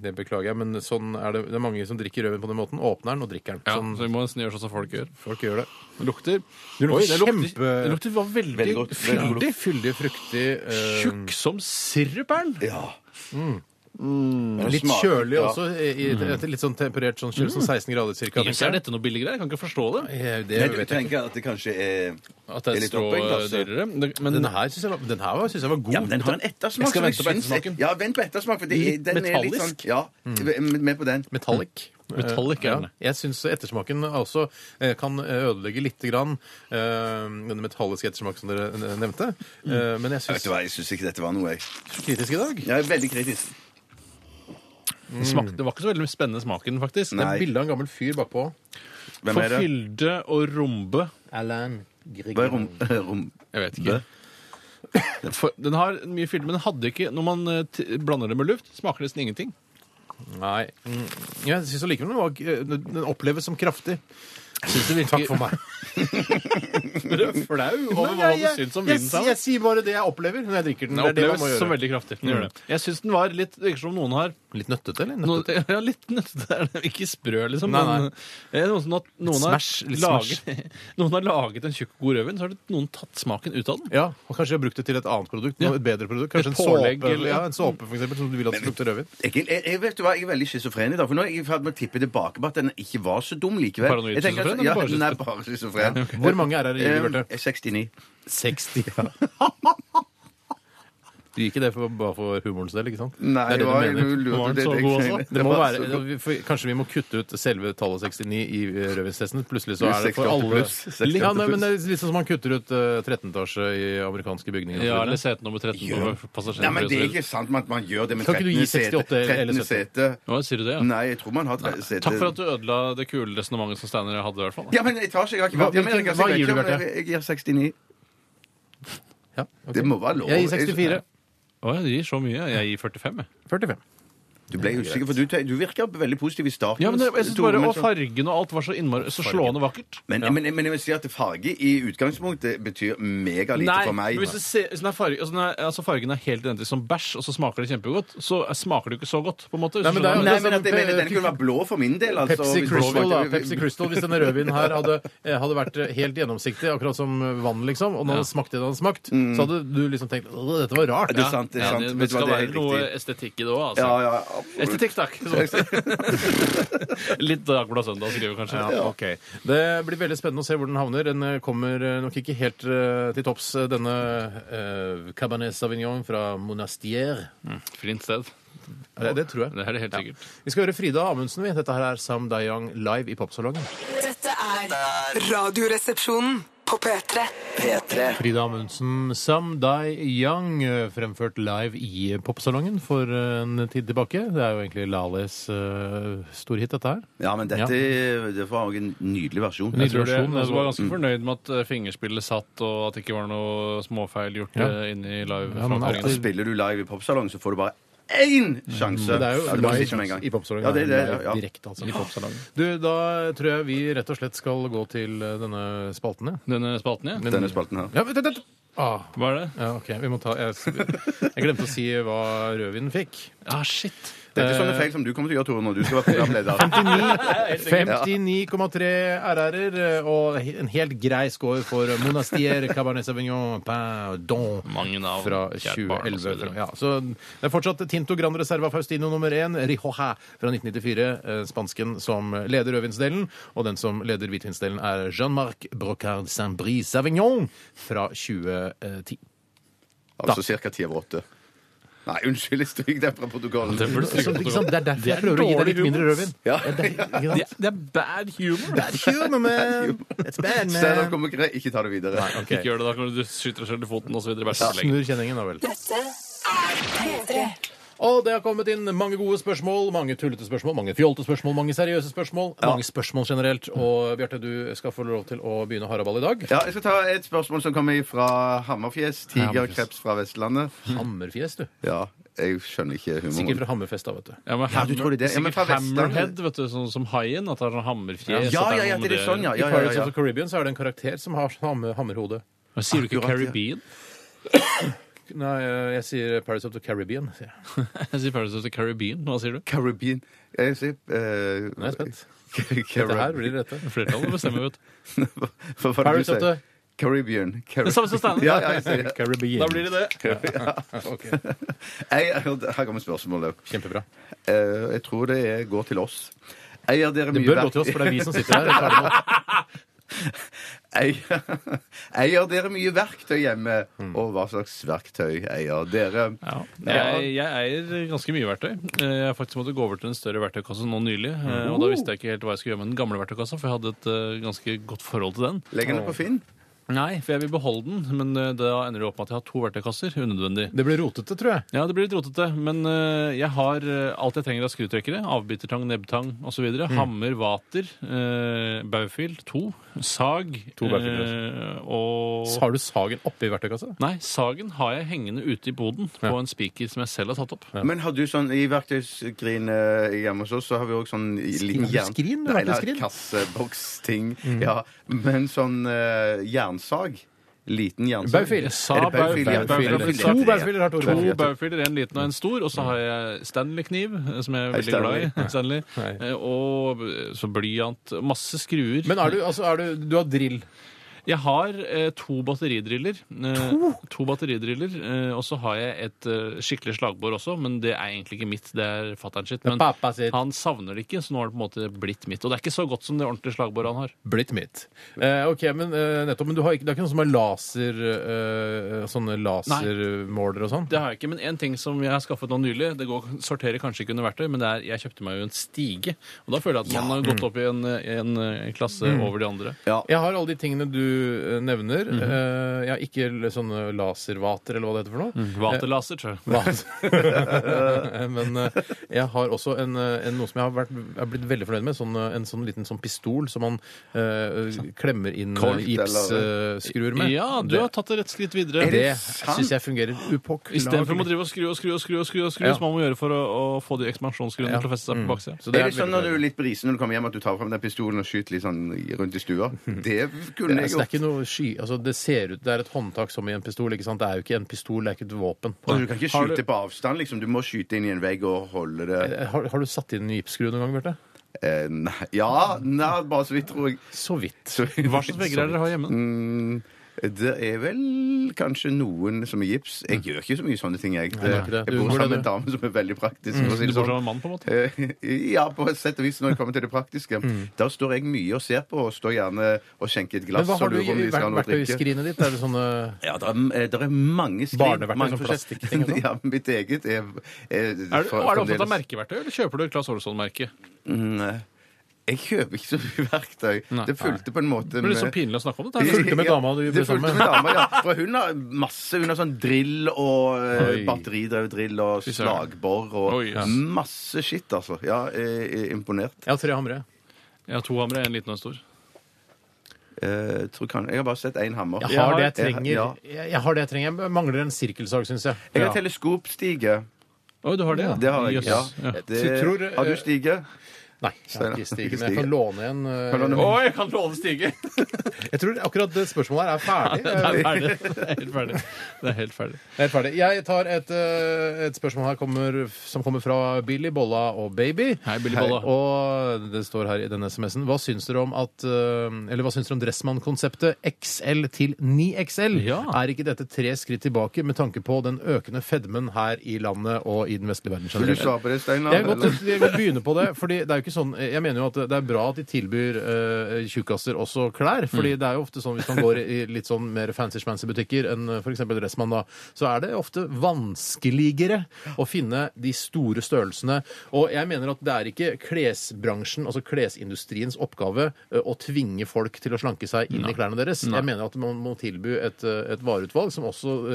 Det beklager jeg, men sånn er det, det er mange som drikker rødvin på den måten. Åpner den og drikker den.
Ja,
Sånn
Så vi må nesten gjøre sånn som folk gjør.
folk gjør det.
Det lukter
Det lukter
Oi, det lukter,
kjempe-
det lukter var veldig,
Veldig godt. Veldig god
fyldig.
lukt.
Fyldig, fruktig eh,
Tjukk som sirup er den!
Ja. Men det
Litt
smaker-
kjølig
Mm. ja.
også. I, i,
Mm.
etter litt sånn temperert sånn kjølig, sånn 16 grader cirka.
Jøss, er dette noe billig greier? Jeg kan ikke forstå det.
Eh, Det
Nei, du
vet jeg ikke.
tenker at det kanskje er
At det
er
er
litt
strå
oppe i glasset.
dyrere. Det- Men
Den her syns jeg, var- den her var- synes jeg var god.
Ja, men den har en ettersmak.
Jeg skal
som
vente på
syns-
ettersmaken.
Ja, vent på ettersmak, for det, er-
Litt
den er litt sånn
metallisk.
Ja, med- med på den.
Metallic.
Mm.
Metallic er den.
Ja, jeg syns ettersmaken også eh, kan ødelegge lite grann eh, den metalliske ettersmaken som dere eh, nevnte. Eh, Men jeg
Vet
syns
du hva, Mm. jeg syns ikke dette var noe, jeg.
kritisk i dag.
Jeg er veldig kritisk.
det smakte, det var ikke så veldig spennende smaken, faktisk.
Nei.
Bilde av en gammel fyr bakpå.
Hvem er
For
det?
fylde og rombe
Alan
Hva er rom... rom
Jeg vet ikke. For, den har mye fylde, men den hadde ikke Når man eh, t blander det med luft, smaker det nesten ingenting.
Nei. Mm, Jeg syns allikevel den, var, eh, den- den oppleves som kraftig. Takk for meg.
Flau over hva du syns om vinen.
jeg,
Sara.
sier bare det jeg opplever når jeg drikker den.
Den
Det er det man må
oppleves som
gjøre.
veldig kraftig. Den gjør det. Jeg syns den var litt Det virker som noen har
Litt nøttete, eller?
noen,
Nøttete.
ja, litt nøttete er den. Ikke sprø, liksom.
Nei,
men, eh, noen, som har- noen, har
smash, litt
laget, noen har laget en tjukk, god rødvin, så har det- noen tatt smaken ut av den.
Ja, og Kanskje jeg har brukt det til et annet produkt.
Ja.
Noe, et bedre produkt. Kanskje
Et
en såpe,
pålegg, eller-
ja, en såpe for eksempel, som du vil at skal lukte rødvin.
Jeg, jeg, jeg vet du hva, jeg er veldig schizofren i dag, for nå er jeg i ferd med å tippe tilbake på at den ikke var så dum likevel.
Paranoid
Jeg tenker at-
schizofren,
Ja,
eller bare
nei, bare schizofren.
Hvor mange er det i
Eh,
Bjarte?
69.
60. Du gir ikke det for, bare for humorens del, ikke sant?
Nei,
det er det du
det var
mener.
lurt.
Var den
det-
så
det-
god
det-
også?
Det må
var så god.
være, for kanskje vi må kutte ut selve tallet 69 i eh, rødvinstesten. Plutselig så er det for
68
alle
pluss. 68
Ja, nei,
pluss.
men det er litt sånn som man kutter ut eh, 13-etasje i amerikanske bygninger.
Ja, eller sete nummer 13 på passasjeren.
Nei, men Det er
sånn.
ikke sant at man gjør det med
Kan ikke du
13.
gi
sete.
68 eller
13.
70?
sete.
Nå sier du det, ja.
Nei, jeg tror man har 13 sete.
Takk for at du ødela det kule resonnementet som Steiner hadde. i hvert fall.
Ja, men etasje, jeg har ikke
Hva-
vært i Amerika. så
hva
jeg
gir
vet
du,
ikke om
Bjarte?
Jeg gir 69.
Ja, ok.
Det må være lov.
Jeg gir 64.
Å, jeg gir så mye. Jeg gir 45. jeg.
45.
Du ble usikker, for du, te- du virker veldig positiv i starten.
Ja, men jeg, jeg synes
Tore,
bare,
men
Og
så-
fargen og alt var så, innmari, så slående vakkert.
men, men, men jeg vil si at farge i utgangspunktet betyr megalite
Nei,
for meg.
men hvis, det ser, hvis den er farge, altså, den er, altså Fargen er helt identisk som bæsj, og så smaker det kjempegodt. Så smaker det jo ikke så godt. på en måte. hvis
Nei,
du
men det er jo-
skjønner.
Nei, men sånn at jeg
som-
mener Den kunne vært blå for min del. Altså,
Pepsi
hvis-
Crystal, da. Pepsi Crystal, Hvis denne rødvinen her hadde, eh, hadde vært eh, helt gjennomsiktig, akkurat som vann, liksom, og den hadde smakt det den hadde smakt, så hadde du liksom tenkt at dette var rart.
Mm. Det er sant. det er
Ja,
sant.
det,
Vet
det
du hva,
skal
det er
være
helt
noe
riktig.
estetikk i det òg, altså.
Ja, ja, absolutt.
Estetikk, takk. som man sier. Litt Dagbladet Søndag skriver kanskje.
Ja, ok. Det blir veldig spennende å se hvor den havner. Den eh, kommer eh, nok ikke helt eh, til topps, eh, denne eh, Cabernet Sauvignon fra Monastier. Eh,
Fint sted.
Det, det tror jeg.
Det er det helt sikkert.
Vi skal høre Frida Amundsen. vi. Dette her er Sam Dayang live i popsalongen.
Dette er
Radioresepsjonen
På P3.
P3.
Frida Amundsen, 'Some Die Young', fremført live i Popsalongen for eh, en tid tilbake. Det er jo egentlig Lales uh, storhit, dette her.
Ja, men dette det var også en nydelig versjon.
Nydelig.
Jeg tror det,
Isolasjon,
men jeg
altså.
var
Mm.
ganske fornøyd med at eh, fingerspillet satt, og at det ikke var noe småfeil gjort
Ja.
eh, inne i
Ja, men
Og
live-framføringen.
altså, spiller du live i popsalong, så får du bare én sjanse.
Det er jo
Ja, det var ikke med en gang.
i Popsalongen.
Ja, det, er det,
er jo
ja.
Direkte, altså. Du, da tror jeg vi rett og slett skal gå til eh, denne spalten, ja.
Denne spalten, ja.
Denne spalten her.
ja vent, vent, vent. Ah,
Hva er det?
ja, ok, vi må ta jeg, jeg glemte å si hva rødvinen fikk.
Ah, shit.
Dette er sånne
eh,
feil som du kommer til å gjøre, Tore, når du skal være programleder.
59,3 RR-er og he- en helt grei score for Monastier Cabernet Sauvignon Pain Don
Mange navn.
fra
Kjært barn,
2011.
og så videre.
ja, så det er fortsatt Tinto Gran Reserva Faustino nummer 1, Rijoja fra 1994, eh, spansken som leder rødvinsdelen, og den som leder hvitvinsdelen er Jean-Marc Brocard Saint-Brie Savignon fra 2010.
Altså ca. ti over åtte. Nei, unnskyld, jeg stryker den fra protokollen.
Den burde stryke
Så,
på
ikke sant?
protokollen.
Det er derfor jeg
Det er
prøver å gi deg
dårlig
litt mindre
humor.
rødvin.
Ja.
det, ikke sant?
Det er- det er bad humor.
That's human, man. That's bad,
Steinar kommer ikke, ikke ta det videre.
Ok.
Ikke gjør det da, kan du skyte deg selv i foten og så videre. Bare så lenge.
Snur kjenningen, da vel.
Dette er P3.
Og det har kommet inn mange gode spørsmål, mange tullete spørsmål, mange fjolte spørsmål, mange seriøse spørsmål. Mange spørsmål generelt. Og Bjarte, du skal få lov til å begynne haraball i dag.
Ja, jeg skal ta et spørsmål som kommer fra Hammerfjes. Tigerkreps fra Vestlandet.
Hammerfjes, du.
Ja, jeg skjønner ikke
Sikkert
humoren.
fra Hammerfest, da, vet du.
Ja, men
Mm. Ja, du tror det er det? Ja, men
sikkert
fra Vestlandet.
hammerhead, vet du, sånn som haien. At det er sånn hammerfjes.
Ja,
at
ja, ja,
noe
det er
med
sånn, ja.
I
ja, ja,
Pirates
ja.
of the Caribbean så er det en karakter som har hammer, hammerhode.
Men Sier du ikke
Akkurat, ja.
Caribbean?
Nei, eh, jeg sier Pirates of the Caribbean. sier jeg.
Jeg sier Paradise of the Caribbean. Hva sier du?
Caribbean Jeg sier eh,
Nå er jeg spent. Dette her
Caribbean.
blir rette.
Flertallet bestemmer, vet du.
Hva var det du
Pirates of
sa?
the
Caribbean. Caribbean.
Det samme som Steinar.
Ja, ja, jeg sier det.
Caribbean.
Da blir det det.
Ok,
Jeg- jeg- Her kommer spørsmålet.
Kjempebra.
Eh, Jeg tror det er, går til oss. Eier dere
Det
mye
bør gå
verk-
til oss, for det er vi som sitter her. og tar det imot.
Eier, eier dere mye verktøy hjemme?
Hmm.
Og hva slags verktøy eier dere?
Ja. Jeg, jeg eier ganske mye verktøy. Eh, Jeg har faktisk måttet gå over til en større verktøykasse nå nylig. eh, Og da visste jeg ikke helt hva jeg skulle gjøre med den gamle verktøykassa, for jeg hadde et eh, ganske godt forhold til den.
Legger dere på Finn?
Nei, for jeg vil beholde den, men eh, da ender det opp med at jeg har to verktøykasser unødvendig.
Det blir rotete, tror jeg.
Ja, det blir litt rotete, men eh, jeg har eh, alt jeg trenger av skrutrekkere. Avbitertang, nebbtang osv. videre Hammer, vater, uh, baufil, to. Sag.
To baufiller,
eh, og
Har du sagen oppi verktøykassa?
Nei, sagen har jeg hengende ute i boden på en spiker som jeg selv har tatt opp.
Men har du sånn i verktøyskrinet hjemme hos oss, så har vi òg sånn i- liten
Skrin?
jern...
Skrin? Mm.
Nei, nei,
Verktøyskrin?
kasseboksting. Ja. Men sånn eh, jernsag. Liten jernsag.
Baufil.
Jeg sa
Er det
baufil,
baufil?
baufil,
Baufil.
baufil.
To baufiller har Tore.
To baufiler, en liten og en stor. Og så har jeg Stanley-kniv, eh, som jeg er
Hei,
veldig glad i.
Stanley.
Stanley.
Nei.
Eh, Og eh, så blyant. Masse skruer.
Men er du, altså, er du, du har drill.
Jeg har eh, to batteridriller. Eh, to? batteridriller, eh, Og så har jeg et eh, skikkelig slagbår også, men det er egentlig ikke mitt. Det er fatter'n sitt. Men
pappa sitt.
han savner det ikke, så nå har det på en måte blitt mitt. Og det er ikke så godt som det ordentlige slagbåret han har.
Blitt mitt. Eh, ok, men eh, nettopp, men du har ikke, det er ikke noe som er laser eh, Sånne lasermåler og sånn?
Det har jeg ikke, men en ting som jeg har skaffet nå nylig Det går, sorterer kanskje ikke under verktøy, men det er, jeg kjøpte meg jo en stige. Og da føler jeg at man har gått opp i en, en, eh, klasse over de andre.
Jeg har alle de tingene du eh, nevner.
Mhm.
Eh, jeg har ikke l- sånne laservater, eller Mm. hva det heter for noe.
Mhm. Vaterlaser, tror jeg.
Vat- Men eh, jeg har også en, eh, en, noe som jeg har, vært, jeg har blitt veldig fornøyd med. Sånn, eh, en sånn liten sånn pistol som man eh, klemmer inn
Kolt, eller-
gipsskruer med.
Sånn Ja, du har tatt det et skritt videre.
Det, det
sant?
syns jeg fungerer
Istedenfor å
upåklagelig.
drive og skru og skru og skru, og skru, og skru
Ja.
som man må gjøre for å, å få de ekspansjonsgrunnene til å feste seg på baksida.
Så
Er
er
det sånn
veldig
når du
fornøyd.
er litt brisen når du kommer hjem, at du tar frem den pistolen og skyter litt sånn rundt i stua? Det
Det
kunne
er,
jeg
altså, det er
gjort.
ikke noe sky, altså det ser ut, det er et håndtak som i en pistol, ikke sant? Det er jo ikke en pistol, det er ikke et våpen.
Og du kan ikke
Har du-
skyte på avstand, liksom. Du må skyte inn i en vegg og holde det
Eh, Har, har du satt inn en gipsskru noen gang, Bjarte?
eh, Nei. Ja, nei, bare så vidt, tror jeg.
Så vidt.
Så,
Hva slags vegger er det dere har hjemme?
Mm, det er vel kanskje noen som er gips. Jeg gjør ikke så mye sånne ting, jeg.
gjør ikke Mm. det. Mm.
jeg
Du
bor
bor
sammen
der,
med en dame som er veldig praktisk. for å
Du
si det
bor
sånn.
som en mann, på en måte?
Eh, Ja, på et sett og vis når det kommer til det praktiske.
Mm.
Da står jeg mye og ser på, og står gjerne og skjenker et glass.
Men hva har
og
du
lurer på om
i
de skal ha noe å drikke.
verktøyskrinet ditt? Er det sånne
Ja, det er, eh, der er mange skriv.
Barneverktøy,
mange
sånn
forskjell-
plastikkting og sånn.
Ja, mitt eget er, er,
Er du, er du opptatt av merkeverktøy, eller kjøper du Claes Olsson-merke?
Mm, Jeg kjøper ikke så mye verktøy. det fulgte på en måte
Det blir
sånn
så pinlig å snakke om dette.
Ja,
her.
fulgte med dama du ble
det fulgte
sammen
med dama, ja. For hun har masse. Hun har sånn drill og eh, batteridrevet drill og
søren.
slagbor og
Oi, ja.
masse skitt, altså. Ja, eh, imponert.
Jeg har tre hamre.
Jeg har to hamre, en liten og en stor.
Eh, tror kan, jeg har bare sett én hammer.
Jeg har det jeg
Jeg-
trenger.
ja.
Jeg, jeg har det jeg trenger. Jeg mangler en sirkelsag, syns jeg.
Jeg
Ja.
har teleskopstige.
Oi, du har det, ja.
Det har jeg.
Jøss.
Ja.
Ja.
Det,
Tror du-
har du stige?
Nei, jeg har ikke stige, men jeg kan
Stige.
låne en. eh,
Kan du låne-
Oi, jeg kan låne Stige!
Jeg tror akkurat det spørsmålet her er ferdig.
Det er ferdig. Det er helt ferdig. Det er helt ferdig.
Det er ferdig. Jeg tar et, eh, et spørsmål her kommer, som kommer fra Billy, Bolla og Baby.
Hei, Billy Bolla.
Og det står her i denne SMS-en. Hva syns dere om at eh, Eller hva syns dere om Dressmann-konseptet XL til 9XL?
Ja.
Er ikke dette tre skritt tilbake med tanke på den økende fedmen her i landet og i den vestlige verden
Vil du
generelt?
svare på det, Steinar?
Jeg kan
eller?
godt, jeg kan godt begynne på det. fordi det er jo ikke sånn, Jeg mener jo at det er bra at de tilbyr eh, tjukkaser også klær. fordi
Mm.
det er jo ofte sånn hvis man går i litt sånn mer fancy-smancy butikker enn f.eks. Dressmann, da, så er det ofte vanskeligere å finne de store størrelsene. Og jeg mener at det er ikke klesbransjen, altså klesindustriens oppgave, eh, å tvinge folk til å slanke seg inn i klærne deres. Jeg mener at man må tilby et, eh, et vareutvalg som også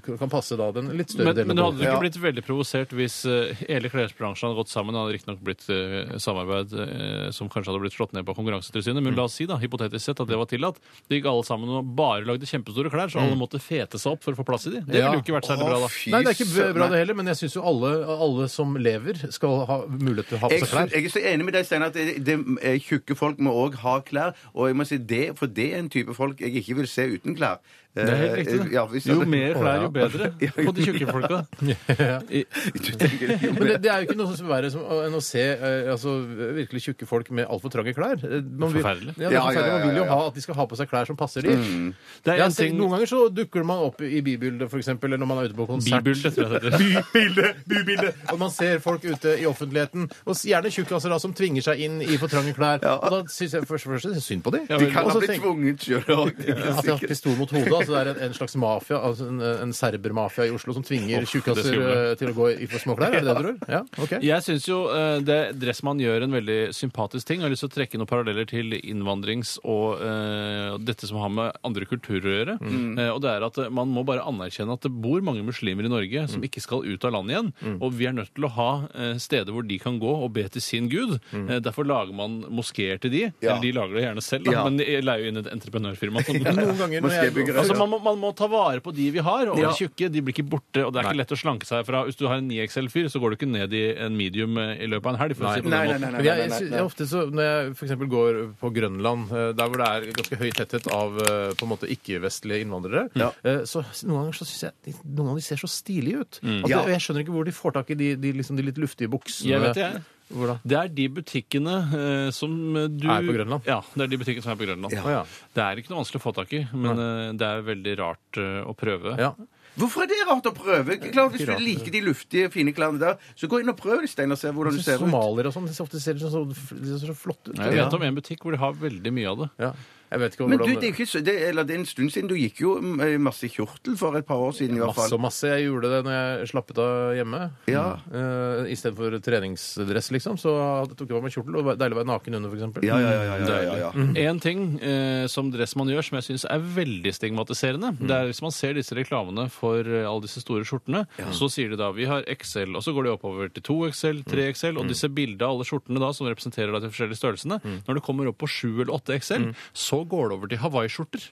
eh, kan passe da den litt større
Men,
delen
men du hadde
befolkningen.
ikke
Ja.
blitt veldig provosert hvis eh, hele klesbransjen hadde gått sammen. Det hadde riktignok blitt eh, samarbeid eh, som kanskje hadde blitt slått ned på Konkurransetilsynet, men la oss si da, hypotetisk sett at det var tillatt. De gikk alle sammen og bare lagde kjempestore klær, så
Mm.
alle måtte fete seg opp for å få plass i de. Det
Ja.
ville jo ikke vært særlig bra da.
Å, fy
Nei, det er ikke
søren.
bra det heller, men jeg syns jo alle, alle som lever, skal ha mulighet til å ha på
Jeg,
seg klær.
jeg er så enig med deg, Steinar, at det, det, eh, tjukke folk må òg ha klær. Og jeg må si det, for det er en type folk jeg ikke vil se uten klær. Eh,
Det er helt riktig. det.
Ja, hvis
jo
jeg-
mer klær, jo bedre
Ja, jo
på de tjukke folka.
Du tenker jo
Men det,
mer.
det er jo ikke noe som verre som, enn å se eh, altså, virkelig tjukke folk med altfor trange klær. Eh, Man vil,
Forferdelig.
Ja, det er
Ja, ja,
forferdelig.
ja,
Man vil jo
ja, Mm. ja.
ha at de skal ha på seg klær som passer de.
Det er
Jeg
en
ser,
ting
noen ganger så dukker man opp i bybildet, f.eks., eller når man er ute på konsert.
Bibilde, tror jeg det heter.
Bybilde, bybilde. Og man ser folk ute i offentligheten, og s- gjerne tjukkaser da, som tvinger seg inn i for trange klær. Og da syns jeg først og fremst det er synd på dem.
De kan ha blitt tvunget sjøl
At de har hatt
òg.
pistol mot hodet. altså Det er en, en slags mafia, altså en, en serbermafia i Oslo som tvinger
det
tjukkaser
skumle.
eh, til å gå i for småklær. Er det det du tror? Ja, ok.
Jeg syns jo eh, det Dressmann gjør en veldig sympatisk ting. Jeg har lyst til å trekke noen paralleller til innvandrings og eh, dette som har med andre kulturer å gjøre.
Mm.
Eh, og det er at eh, man må bare anerkjenne at det bor mange muslimer i Norge som
Mm.
ikke skal ut av landet igjen. Og vi er nødt til å ha eh, steder hvor de kan gå og be til sin gud. Eh, derfor lager man moskeer til de.
Mm. Ja.
Eller de lager det gjerne selv, da,
Ja.
men de leier jo inn et entreprenørfirma. Som,
Noen ganger når jeg
Moskébyggere.
Altså, man, må, man må ta vare på de vi har, og
Ja.
de tjukke de blir ikke borte. og det er ikke lett å slanke seg fra. Hvis du har en 9XL-fyr, så går du ikke ned i en medium eh, i løpet av en helg. for å si det på
Nei,
den
nei,
måten.
nei. nei,
Men
nei,
jeg,
nei,
sy-
nei.
ofte så, Når jeg f.eks. går på Grønland, eh, der hvor det er ganske høy tetthet av eh, på en måte ikke-vestlige innvandrere,
Ja.
eh, så s- noen ganger så syns jeg de, noen av de ser så stilige ut. At det,
Ja.
og jeg skjønner ikke hvor de får tak i de, de, liksom, de litt luftige buksene.
Jeg vet det, jeg.
Hvor da?
Det er de butikkene eh, som du
Er på Grønland?
Ja, det er de butikkene som er på Grønland.
Å, ja.
Det er ikke noe vanskelig å få tak i, men eh, det er veldig rart eh, å prøve.
Ja.
Hvorfor er det rart å prøve? Klart, hvis du liker de luftige, fine klærne der, så gå inn og prøv det, Steinar, og se hvordan du ser ut.
Somaliere og sånn de ser ofte ser så, så, de ser så flotte ut.
Jeg vet om en butikk hvor de har veldig mye av det.
Ja. Jeg vet ikke
Men
hvordan
du, det er, ikke, så- det, eller, det er en stund siden. Du gikk jo mm, eh, masse i kjortel for et par år siden, i hvert
Masse og
fall.
masse. Jeg gjorde det når jeg slappet av hjemme.
Ja.
Mm.
Uh, Istedenfor treningsdress, liksom. Så tok jeg på meg kjortel. Og det var deilig å være naken under, f.eks.
Ja, ja, ja, ja, ja, ja, ja.
Mhm.
En ting eh, som Dressmann gjør, som jeg syns er veldig stigmatiserende,
Mhm.
det er hvis man ser disse reklamene for eh, alle disse store skjortene, så sier de da vi har XL, og så går de oppover til 2XL,
Mhm.
3XL, og disse bildene av alle skjortene da, som representerer da de forskjellige størrelsene,
Mhm.
når det kommer opp på 7 eller 8XL, så går det over til hawaiiskjorter.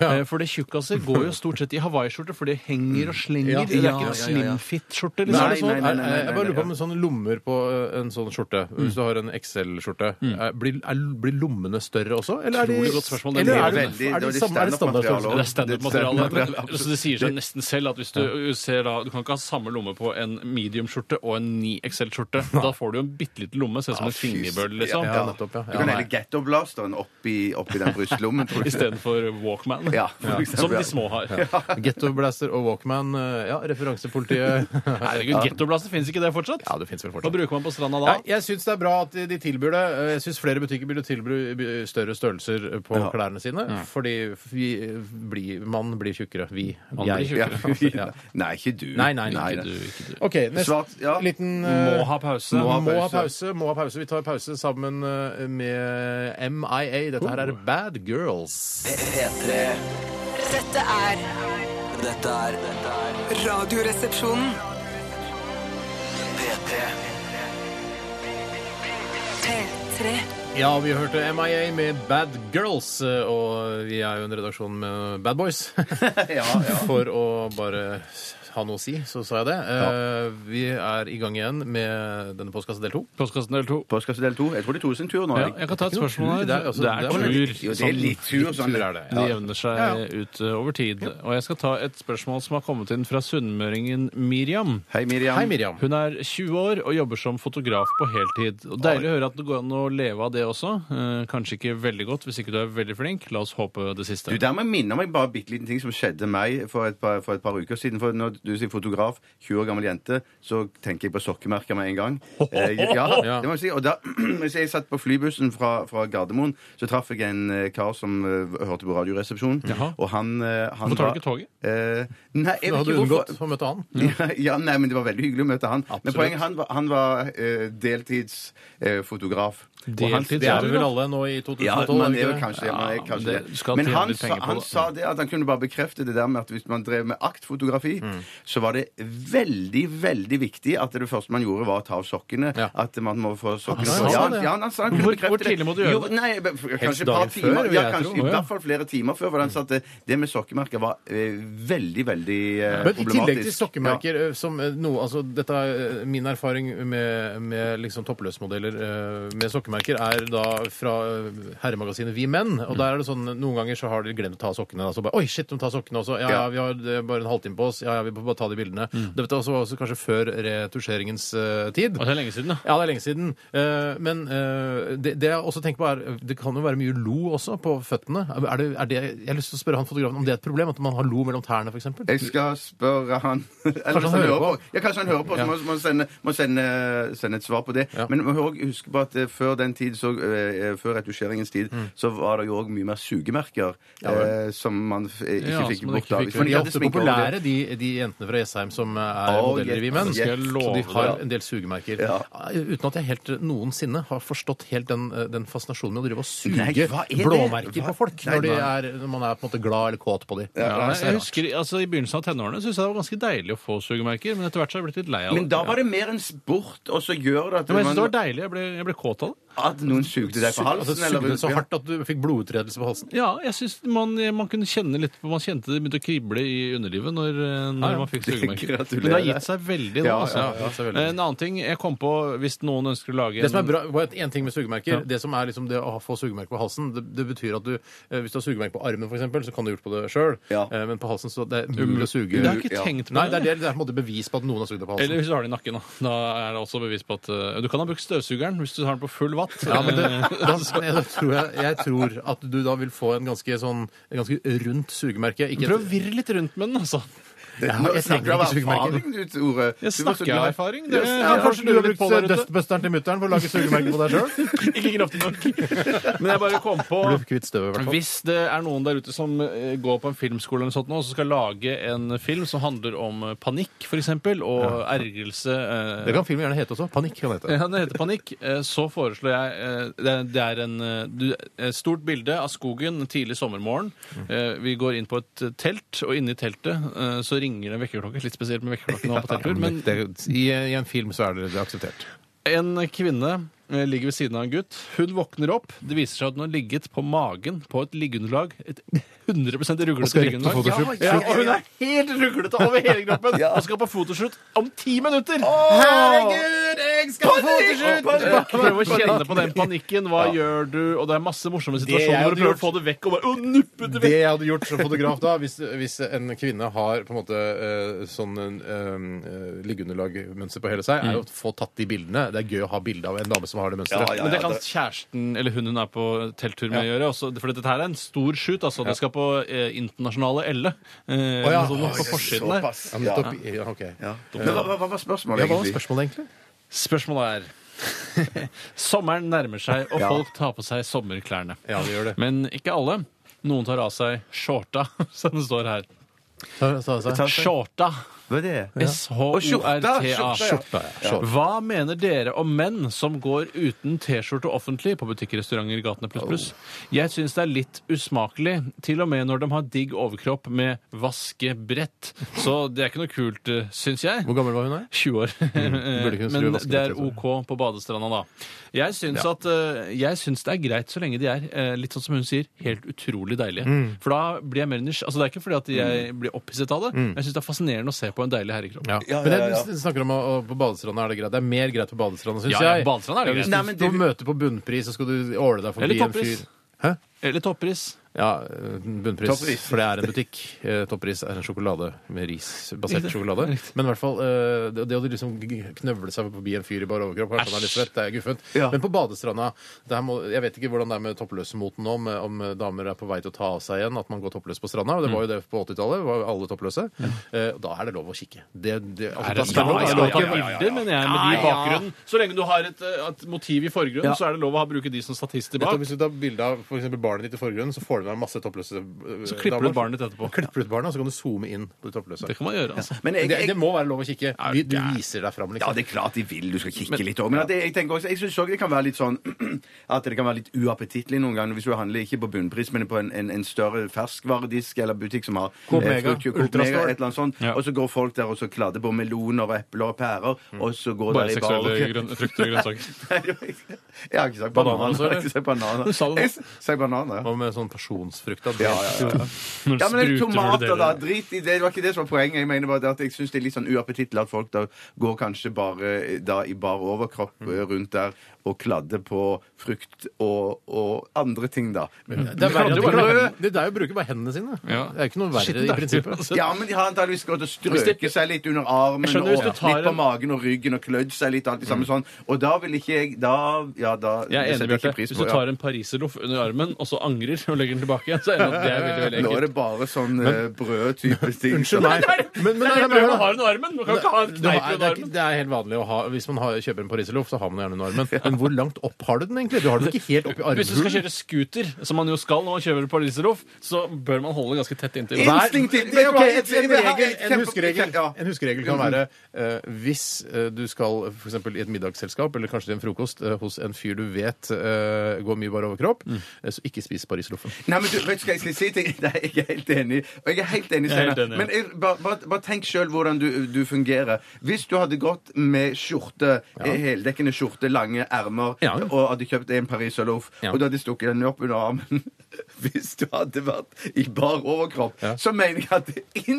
Eh, for det tjukkaser går jo stort sett i hawaiiskjorter, for det henger og
Mhm.
slenger.
Ja,
det er
ja,
ikke noen
ja, ja, ja.
Men
slimfit-skjorter. Liksom.
er det
Nei,
sånn,
nei, nei,
er-
nei,
er- jeg bare
nei, Mm.
lurer på om sånne lommer på eh, en sånn skjorte, hvis du har en XL-skjorte, eh, blir, er, blir lommene større også? Eller er de,
Utrolig godt spørsmål. Det
eller
er
er det,
veldig- det er
er det,
veldig
samme- er det
standardmateriale
standardstørrelse?
Det er standup-materiale.
Det er standup-materiale,
men- Så det sier seg nesten selv at hvis du ser da Du kan ikke ha samme lomme på en medium-skjorte og en 9XL-skjorte. Da får du jo en bitte liten lomme, ser ut som en fingerbøl, liksom.
Ja, nettopp, ja.
Du kan
Ja,
heller ghetto-blasteren oppi, oppi den brystlommen. tror jeg.
Istedenfor Walkman,
Ja, for eksempel.
som de små har.
Gettoblaster og Walkman, eh, ja, referansepolitiet
Herregud, Gettoblaster fins ikke det fortsatt?
Ja, det fins vel
Hva
fortsatt.
bruker man på stranda da?
Nei, jeg syns det er bra at de- de tilbyr det. Eh, Jeg syns flere butikker burde tilby by- større størrelser eh, på
Ja.
klærne sine. Fordi vi eh, blir, man blir tjukkere. Vi.
Man
jeg.
blir tjukkere.
altså, ja.
Nei, ikke du.
Nei, nei,
Nei,
Ikke
nei.
du, ikke du.
OK, neste
Svart, ja.
liten eh,
Må ha pause.
Må ha, pause. må ha
pause.
pause. Vi tar pause sammen eh, med MIA. Dette her er Bad Girls.
P3.
Dette er
Dette er dette er
Radioresepsjonen.
P3.
P3.
Ja, vi hørte MIA med Bad Girls, eh, og vi er jo en redaksjon med Bad Boys.
Ja, ja.
For å bare ha noe å si, så sa jeg det. Eh, Vi er i gang igjen med denne postkassen del to.
Postkassen del to.
Postkasse del to. Jeg tror det er Tore sin tur nå.
Ja, jeg kan ta et spørsmål her.
Det er, altså,
det er
det er-
tur.
Jo, det
sånn-
er litt tur. Sånn.
Tur er det.
Det jevner seg ut eh, over tid. Og jeg skal ta et spørsmål som har kommet inn fra sunnmøringen Miriam.
Hei, Miriam.
Hei, Miriam.
Hun er 20 år og jobber som fotograf på heltid. Og Deilig å høre at det går an å leve av det også. Eh, Kanskje ikke veldig godt hvis ikke du er veldig flink. La oss håpe det siste.
Du, Der må jeg minne meg bare bitte liten ting som skjedde meg for et, par, for et par uker siden. For når du sier fotograf, 20 år gammel jente, så tenker jeg på sokkemerker med en gang. Eh, ja,
Ja.
det må jeg si. Og da hvis jeg satt på flybussen fra, fra Gardermoen, så traff jeg en eh, kar som eh, hørte på Radioresepsjonen.
Jaha.
Og han, eh, han
Hvorfor tar du
var-
ikke toget?
Eh, nei,
Da hadde
jeg vet ikke
du
hvorfor.
unngått å møte han.
Ja, ja, nei, men det var veldig hyggelig å møte han. Men
Absolutt.
poenget han var, han var eh, deltidsfotograf. Og han-
Deltids-
Det er vi vel alle nå i 2012?
ja,
er
man
vi ikke
er vel
det?
kanskje,
Ja,
man er kanskje
det-
det.
skal
Men
tjene
han,
litt
sa,
penger på
han
det.
sa det at han kunne bare bekrefte det der med at hvis man drev med aktfotografi,
Mm.
så var det veldig, veldig viktig at det første man gjorde, var å ta av sokkene.
Ja.
At man må få sokkene
sa
ja,
det?
ja, han sa han kunne
Hvor-
bekrefte
hvor
det.
tidlig må du gjøre
Jo,
det?
Nei, b- f- kanskje et
dagen
par
før,
timer.
vil
ja,
jeg
kanskje,
tro.
I
Å, ja.
hvert fall flere timer før. For han sa at det, det med sokkemerker var eh, veldig, veldig eh,
Men i tillegg til
problematisk. Ja.
sokkemerker, eh, som eh, noe altså, Dette er eh, min erfaring med, med liksom toppløsmodeller eh, med sokkemerker, er da fra eh, herremagasinet Vi Menn. Og der er det sånn noen ganger så har de glemt å ta sokkene. da, så bare, Oi, shit, de tar sokkene også. Ja, ja,
Ja.
vi har eh, bare en halvtime på oss. Ja, ja, vi får bare ta de bildene. Dette var også kanskje før retusjeringens eh, tid.
Og det er lenge siden, ja.
Ja, det er lenge siden. Eh, Men eh, det, det jeg også tenker på er Det kan jo være mye lo også på føttene. Er det, er det, jeg har lyst til å spørre han fotografen om det er et problem at man har lo mellom tærne, f.eks.
Jeg skal spørre han Eller hvis
han hører på?
Ja, kanskje han hører på, så må må han sende, må sende, sende et svar på det.
Ja.
Men vi må også huske på at eh, før den tid, så, eh, eh, før retusjeringens tid,
Mm.
så var det jo òg mye mer sugemerker eh, som man f- eh, ikke
Ja,
fikk
som man ikke
bort av.
fikk
hvis man
De
ikke
er
hadde
ofte
sminke over
populære,
det.
de, de jentene fra Jessheim som eh, er
Å,
modeller i
yes.
Vi Menn.
Så
skal jeg
Så de
love
har
deg.
en del sugemerker. Ah,
Ja.
Uten at jeg helt noensinne har forstått helt den, eh, den fascinasjonen med å drive og suge
Nei, hva er det?
blåmerker på
Hva-
folk
Nei,
når, de
hva-
er, når man er på en måte glad eller kåt på dem.
Ja, nei, jeg husker, altså, I begynnelsen av tenårene syntes jeg det var ganske deilig å få sugemerker, men etter hvert så har jeg blitt litt lei av det.
Men da var det mer en sport, og så gjør det at,
Ja, men jeg synes det
man,
var deilig. Jeg ble, jeg ble kåt av det.
at noen sugde deg på halsen.
Altså, sugde
eller-
så hardt at du fikk blodutredelse på halsen.
Ja, jeg synes man, man kunne kjenne litt på Man kjente det begynte å krible i underlivet når, eh, når man fikk sugemerker.
Gratulerer.
Men det har gitt seg veldig nå,
Ja,
altså.
ja, ja, så veldig.
En annen ting jeg kom på, hvis noen ønsker å lage
Det som er
en-
bra, bare en ting med sugemerker, det som er liksom det å ha- få sugemerker på halsen, det, det betyr at du, eh, hvis du har sugemerker på armen for eksempel, så kan du ha gjort på det selv,
Ja.
eh, men på halsen så det er umulig å suge.
Det har jeg ikke
Ja.
tenkt på.
Nei, det er, det, det er på en måte bevis på at noen har sugd deg på halsen.
Eller hvis du har det i nakken, da. Da er det også bevis på at eh, Du kan ha brukt støvsugeren hvis du har den på full vatt.
Ja, men det, Eh, da, jeg, tror jeg, jeg tror at du da vil få en ganske sånn en ganske rundt sugemerke. Ikke
Prøv å
et,
virre litt rundt med den, altså.
Det-
Ja,
nå
jeg trenger
snakker du av
ikke sugemerker.
erfaring, du, Tore. Du var
Jeg
så
snakker av
glad.
erfaring.
Ja,
Det,
ja,
ja,
kanskje
kanskje du har
lurer litt
brukt eh,
på der ute.
dustbusteren til mutteren for å lage sugemerke på deg sjøl?
Ikke kraftig nok. Men jeg bare kom på
Blir kvitt støvet, i hvert fall.
Hvis det er noen der ute som eh, går på en filmskole eller noe sånt nå, som skal lage en film som handler om eh, panikk, f.eks., og ergrelse eh,
Det kan filmen gjerne hete også. Panikk kan det hete.
Ja, det heter Panikk. Eh, Så foreslår jeg eh, Det er- det er en, eh, du- et stort bilde av skogen en tidlig sommermorgen. Eh, Vi går inn på et telt, og inni teltet eh, så ringer det en vekkerklokke. Litt spesielt med vekkerklokken nå på telttur, men
det, i, I en film så er det, det er akseptert.
en kvinne eh, ligger ved siden av en gutt. Hun våkner opp. Det viser seg at hun har ligget på magen på et liggeunderlag. Et 100 ruglete
skal rett på
liggeunderlag.
Photoshop.
Ja, ja, og hun er helt ruglete over hele kroppen og skal på photoshoot om ti minutter!
Herregud, jeg skal få
Prøv å kjenne på den panikken. Hva gjør du? Og det er masse morsomme situasjoner
hadde
hvor du prøver
gjort-
å få det vekk. Og bare, å, nuppe det
Det
vekk.
jeg hadde gjort som fotograf da, hvis, hvis en kvinne har på en måte eh, sånn Mm. eh, eh, liggeunderlagmønster på hele seg, er jo å få tatt de bildene. Det er gøy å ha bilde av en dame som som har det mønsteret.
Ja, ja,
Men det
ja,
kan
det-
kjæresten eller hun hun er på telttur med gjøre. Også, for dette her er en stor shoot. altså Det skal på eh, internasjonale Elle. Eh,
ja.
sånn
Oi,
på forsiden der.
Såpass.
Ja, men
Ja.
nettopp- ja, ok.
Men hva, hva- hva var spørsmålet,
Ja, hva var
egentlig?
spørsmålet, egentlig?
Spørsmålet er Sommeren nærmer seg, og folk tar på seg sommerklærne.
Ja, det gjør det.
Men ikke alle. Noen tar av seg skjorta, som det står her.
Ta- ta- ta-
Ta-
Skjorta.
Hva er det? Og skjorta,
S-H-O-R-T-A.
skjorta, ja.
Skjorta, ja. Skjorta.
Hva mener dere om menn som går uten T-skjorte offentlig på butikker, restauranter, gatene pluss pluss? Jeg syns det er litt usmakelig, til og med når de har digg overkropp med vaskebrett. Så det er ikke noe kult, eh, syns jeg.
Hvor gammel var hun her?
20 år.
Mm. burde kunne skru altså.
Men
vaskebrett,
det er
jeg tror.
OK på badestranda, da. Jeg syns, at, eh, jeg syns det er greit så lenge de er eh, litt sånn som hun sier, helt utrolig deilige.
Mm.
For da blir jeg mer nysgjerrig. Altså, det er ikke fordi at jeg blir opphisset av det, men jeg syns det er fascinerende å se på en deilig herrekropp.
Mm. Ja.
Ja,
Men
ja, ja.
jeg s- snakker om å, å, på badestranda er det greit. Det er mer greit på badestranda, syns
Ja, ja,
jeg.
badestranda er det
Ja,
greit.
Hvis
Nei,
du
men
står
det-
og møter på bunnpris, så skal du åle deg forbi en
Eller
fyr.
toppris.
Hæ?
Eller toppris.
Ja, eh, bunnpris.
Toppris.
For det er en butikk. Eh, Toppris er en sjokolade med risbasert sjokolade. Men i hvert fall, eh, det det å liksom g- knøvle seg forbi en fyr i bar overkropp kanskje han er litt svett, det er guffent.
Ja.
Men på badestranda der må, Jeg vet ikke hvordan det er med toppløsemoten nå, om, om damer er på vei til å ta av seg igjen, at man går toppløs på stranda. Det
Mm.
var jo det på 80-tallet. var jo Alle toppløse. Eh, og Da er det lov å kikke. Det, det, altså, da skal
Ja,
man-
ja,
da skal
ja,
man ikke-
ja, ja, ja. Men jeg er med de i bakgrunnen. Så lenge du har et, eh, et motiv i forgrunnen, så er det lov å ha bruke de som statister
Nettopp,
bak.
Hvis du tar bilde av for eksempel barnet ditt i forgrunnen, så får du med masse toppløse eh,
Så klipper
damer.
du barnet ditt etterpå.
Klipper ut barna, så kan du zoome inn på de toppløse.
Det kan man gjøre, altså.
Men jeg,
det,
jeg,
det må være lov å kikke.
Er
Du,
du
du
gæren?
viser deg fram,
Ja,
liksom.
det er klart de vil. Du skal kikke litt òg. Men at det, jeg tenker også, jeg syns òg det kan være litt sånn at det kan være litt uappetittlig noen ganger hvis du handler ikke på bunnpris, men på en, en, en større ferskvaredisk eller butikk som har
Coop
eh,
Mega,
fruktjuice, Coop
Ultrastore.
Mega, et eller annet sånt,
Ja.
og så går folk der og så kladder på meloner og epler og pærer,
Mm.
og så går
Bare
de i
seksuelle
bar-
grønn, frukter og grønnsaker.
Nei, det var ikke- Jeg har ikke sagt
Bananer
bananer.
også,
Jeg har ikke sagt bananer.
Du sa det nå.
Jeg s- sa bananer. ja.
Hva med sånn pasjonsfrukt?
Ja, ja, ja.
Når
Ja, men
spruter hvor
det er
det
tomater, da.
deler.
Drit i det. Det var ikke det som var poenget. Jeg mener bare det at jeg syns det er litt sånn uappetittlig at folk da går kanskje bare da i bar overkropp
Mm.
eh, rundt der og kladder på frukt og, og andre ting, da.
Det er, verre,
Du
at
kan jo
de-
bare-
det, det er jo å bruke bare hendene sine.
Ja.
Det er jo ikke noe verre i
Skittent, da.
prinsippet.
Ja, men de har antakeligvis gått og
Hvis
strøket
det-
seg litt under armen
Jeg skjønner
og
hvis du
litt
tar
på
en- Mm.
magen og ryggen og klødd seg litt alt det samme sånn. Og da vil ikke jeg Da Ja, da
Jeg er enig,
setter jeg
Bjarte.
ikke pris
Hvis du
på ja.
tar en pariserloff under armen, og så angrer og legger den tilbake igjen, så er det det er veldig veldig
Nå er
ekkelt.
det bare sånn eh, brød-type ting.
Unnskyld meg. Men, men,
Det
nei,
er helt
nei,
lov å
nei, nei.
ha den under armen! Du kan ikke ha en
Det
kneip
er, det,
under
er, ikke-
armen.
det er helt vanlig å ha Hvis man har, kjøper en pariserloff, så har man gjerne under armen. Men hvor langt opp har du den egentlig? Du har den ikke helt opp i
Hvis du skal
armhulen.
kjøre scooter, som man jo skal når man kjører pariserloff, så bør man holde ganske tett inntil.
Hver-
Instinktivt.
Nei, ok,
En,
jeg- jeg vil ha-
regel,
jeg-
en huskeregel,
Ja.
en huskeregel kan være eh, hvis eh, du skal for eksempel i et middagsselskap eller kanskje til en frokost eh, hos en fyr du vet eh, går mye bare overkropp, eh, så ikke spis pariserloffen.
Nei, men du, vet du hva jeg skal si? Til? Nei, jeg er helt enig. Og jeg er helt enig,
Jeg er helt
Steinar.
enig, ja.
Men jeg, bare, bare, bare tenk sjøl hvordan du, du fungerer. Hvis du hadde gått med skjorte, eh, heldekkende skjorte, lange ermer,
Ja.
og hadde kjøpt en pariserloff,
Ja.
og du hadde stukket den opp under armen Hvis du hadde vært i bar overkropp, så mener jeg at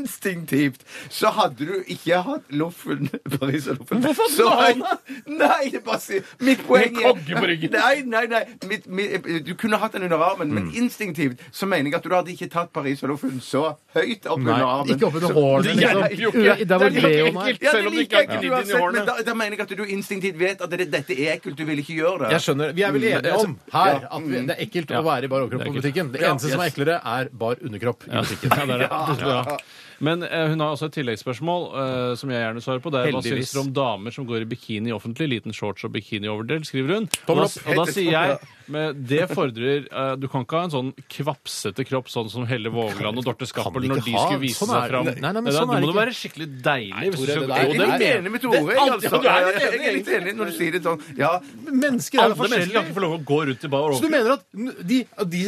instinktivt så hadde du ikke hatt loffen, pariserloffen.
Hvorfor
Så
hadde du
jeg- Nei, det bare sier Mitt poeng
Med
er
kogge på ryggen.
Nei, nei, nei. Mitt, mitt, du kunne hatt den under armen, men instinktivt så mener jeg at du hadde ikke tatt Pariserloffen så høyt opp under armen.
ikke oppunder
Så-
hårene,
Det
liksom.
hjelper jo ikke.
Ja, der hvor
Det er like
Leon er.
ekkelt,
Ja,
selv
det
om det
liker
ikke
jeg
er
ikke
gnidd inn i
uansett, men
hårene.
da, da mener jeg at du instinktivt vet at det, dette er ekkelt, du vil ikke gjøre det.
Jeg skjønner. Vi er vel enige om her
Ja.
at vi, det er ekkelt
Ja.
å være i bar overkropp
Det er
på
ekkelt.
butikken. Altså, Det
Ja.
eneste som er
Yes.
eklere, er bar underkropp i butikken.
Ja, det er det. Ja. Men eh, hun har også et tilleggsspørsmål eh, som jeg gjerne svarer på. Det er hva
Heldigvis.
syns dere om damer som går i bikini offentlig? Liten shorts og bikinioverdel, skriver hun. Og
Tommel
da,
opp.
og da sier jeg men det fordrer eh, Du kan ikke ha en sånn kvapsete kropp sånn som Helle Vågland og
Kan
Dorte Skappel
vi
når
ikke
de
ha-
skulle vise
sånn er-
seg fram.
Nei, nei, men
Da-
sånn
da
er
må
det
du være skikkelig deilig. hvis
Tore,
du
det
skal- Jo,
der-
Jeg er
det
enig med Tore.
Det er alltid-
altså.
Ja, du er litt
Jeg er
enig,
litt enig når du sier det sånn. Ja,
Mennesker er
Alle
jo
mennesker kan ikke
forskjellige.
få lov å gå rundt i bar
Så du
overkropp.
mener at de, at de,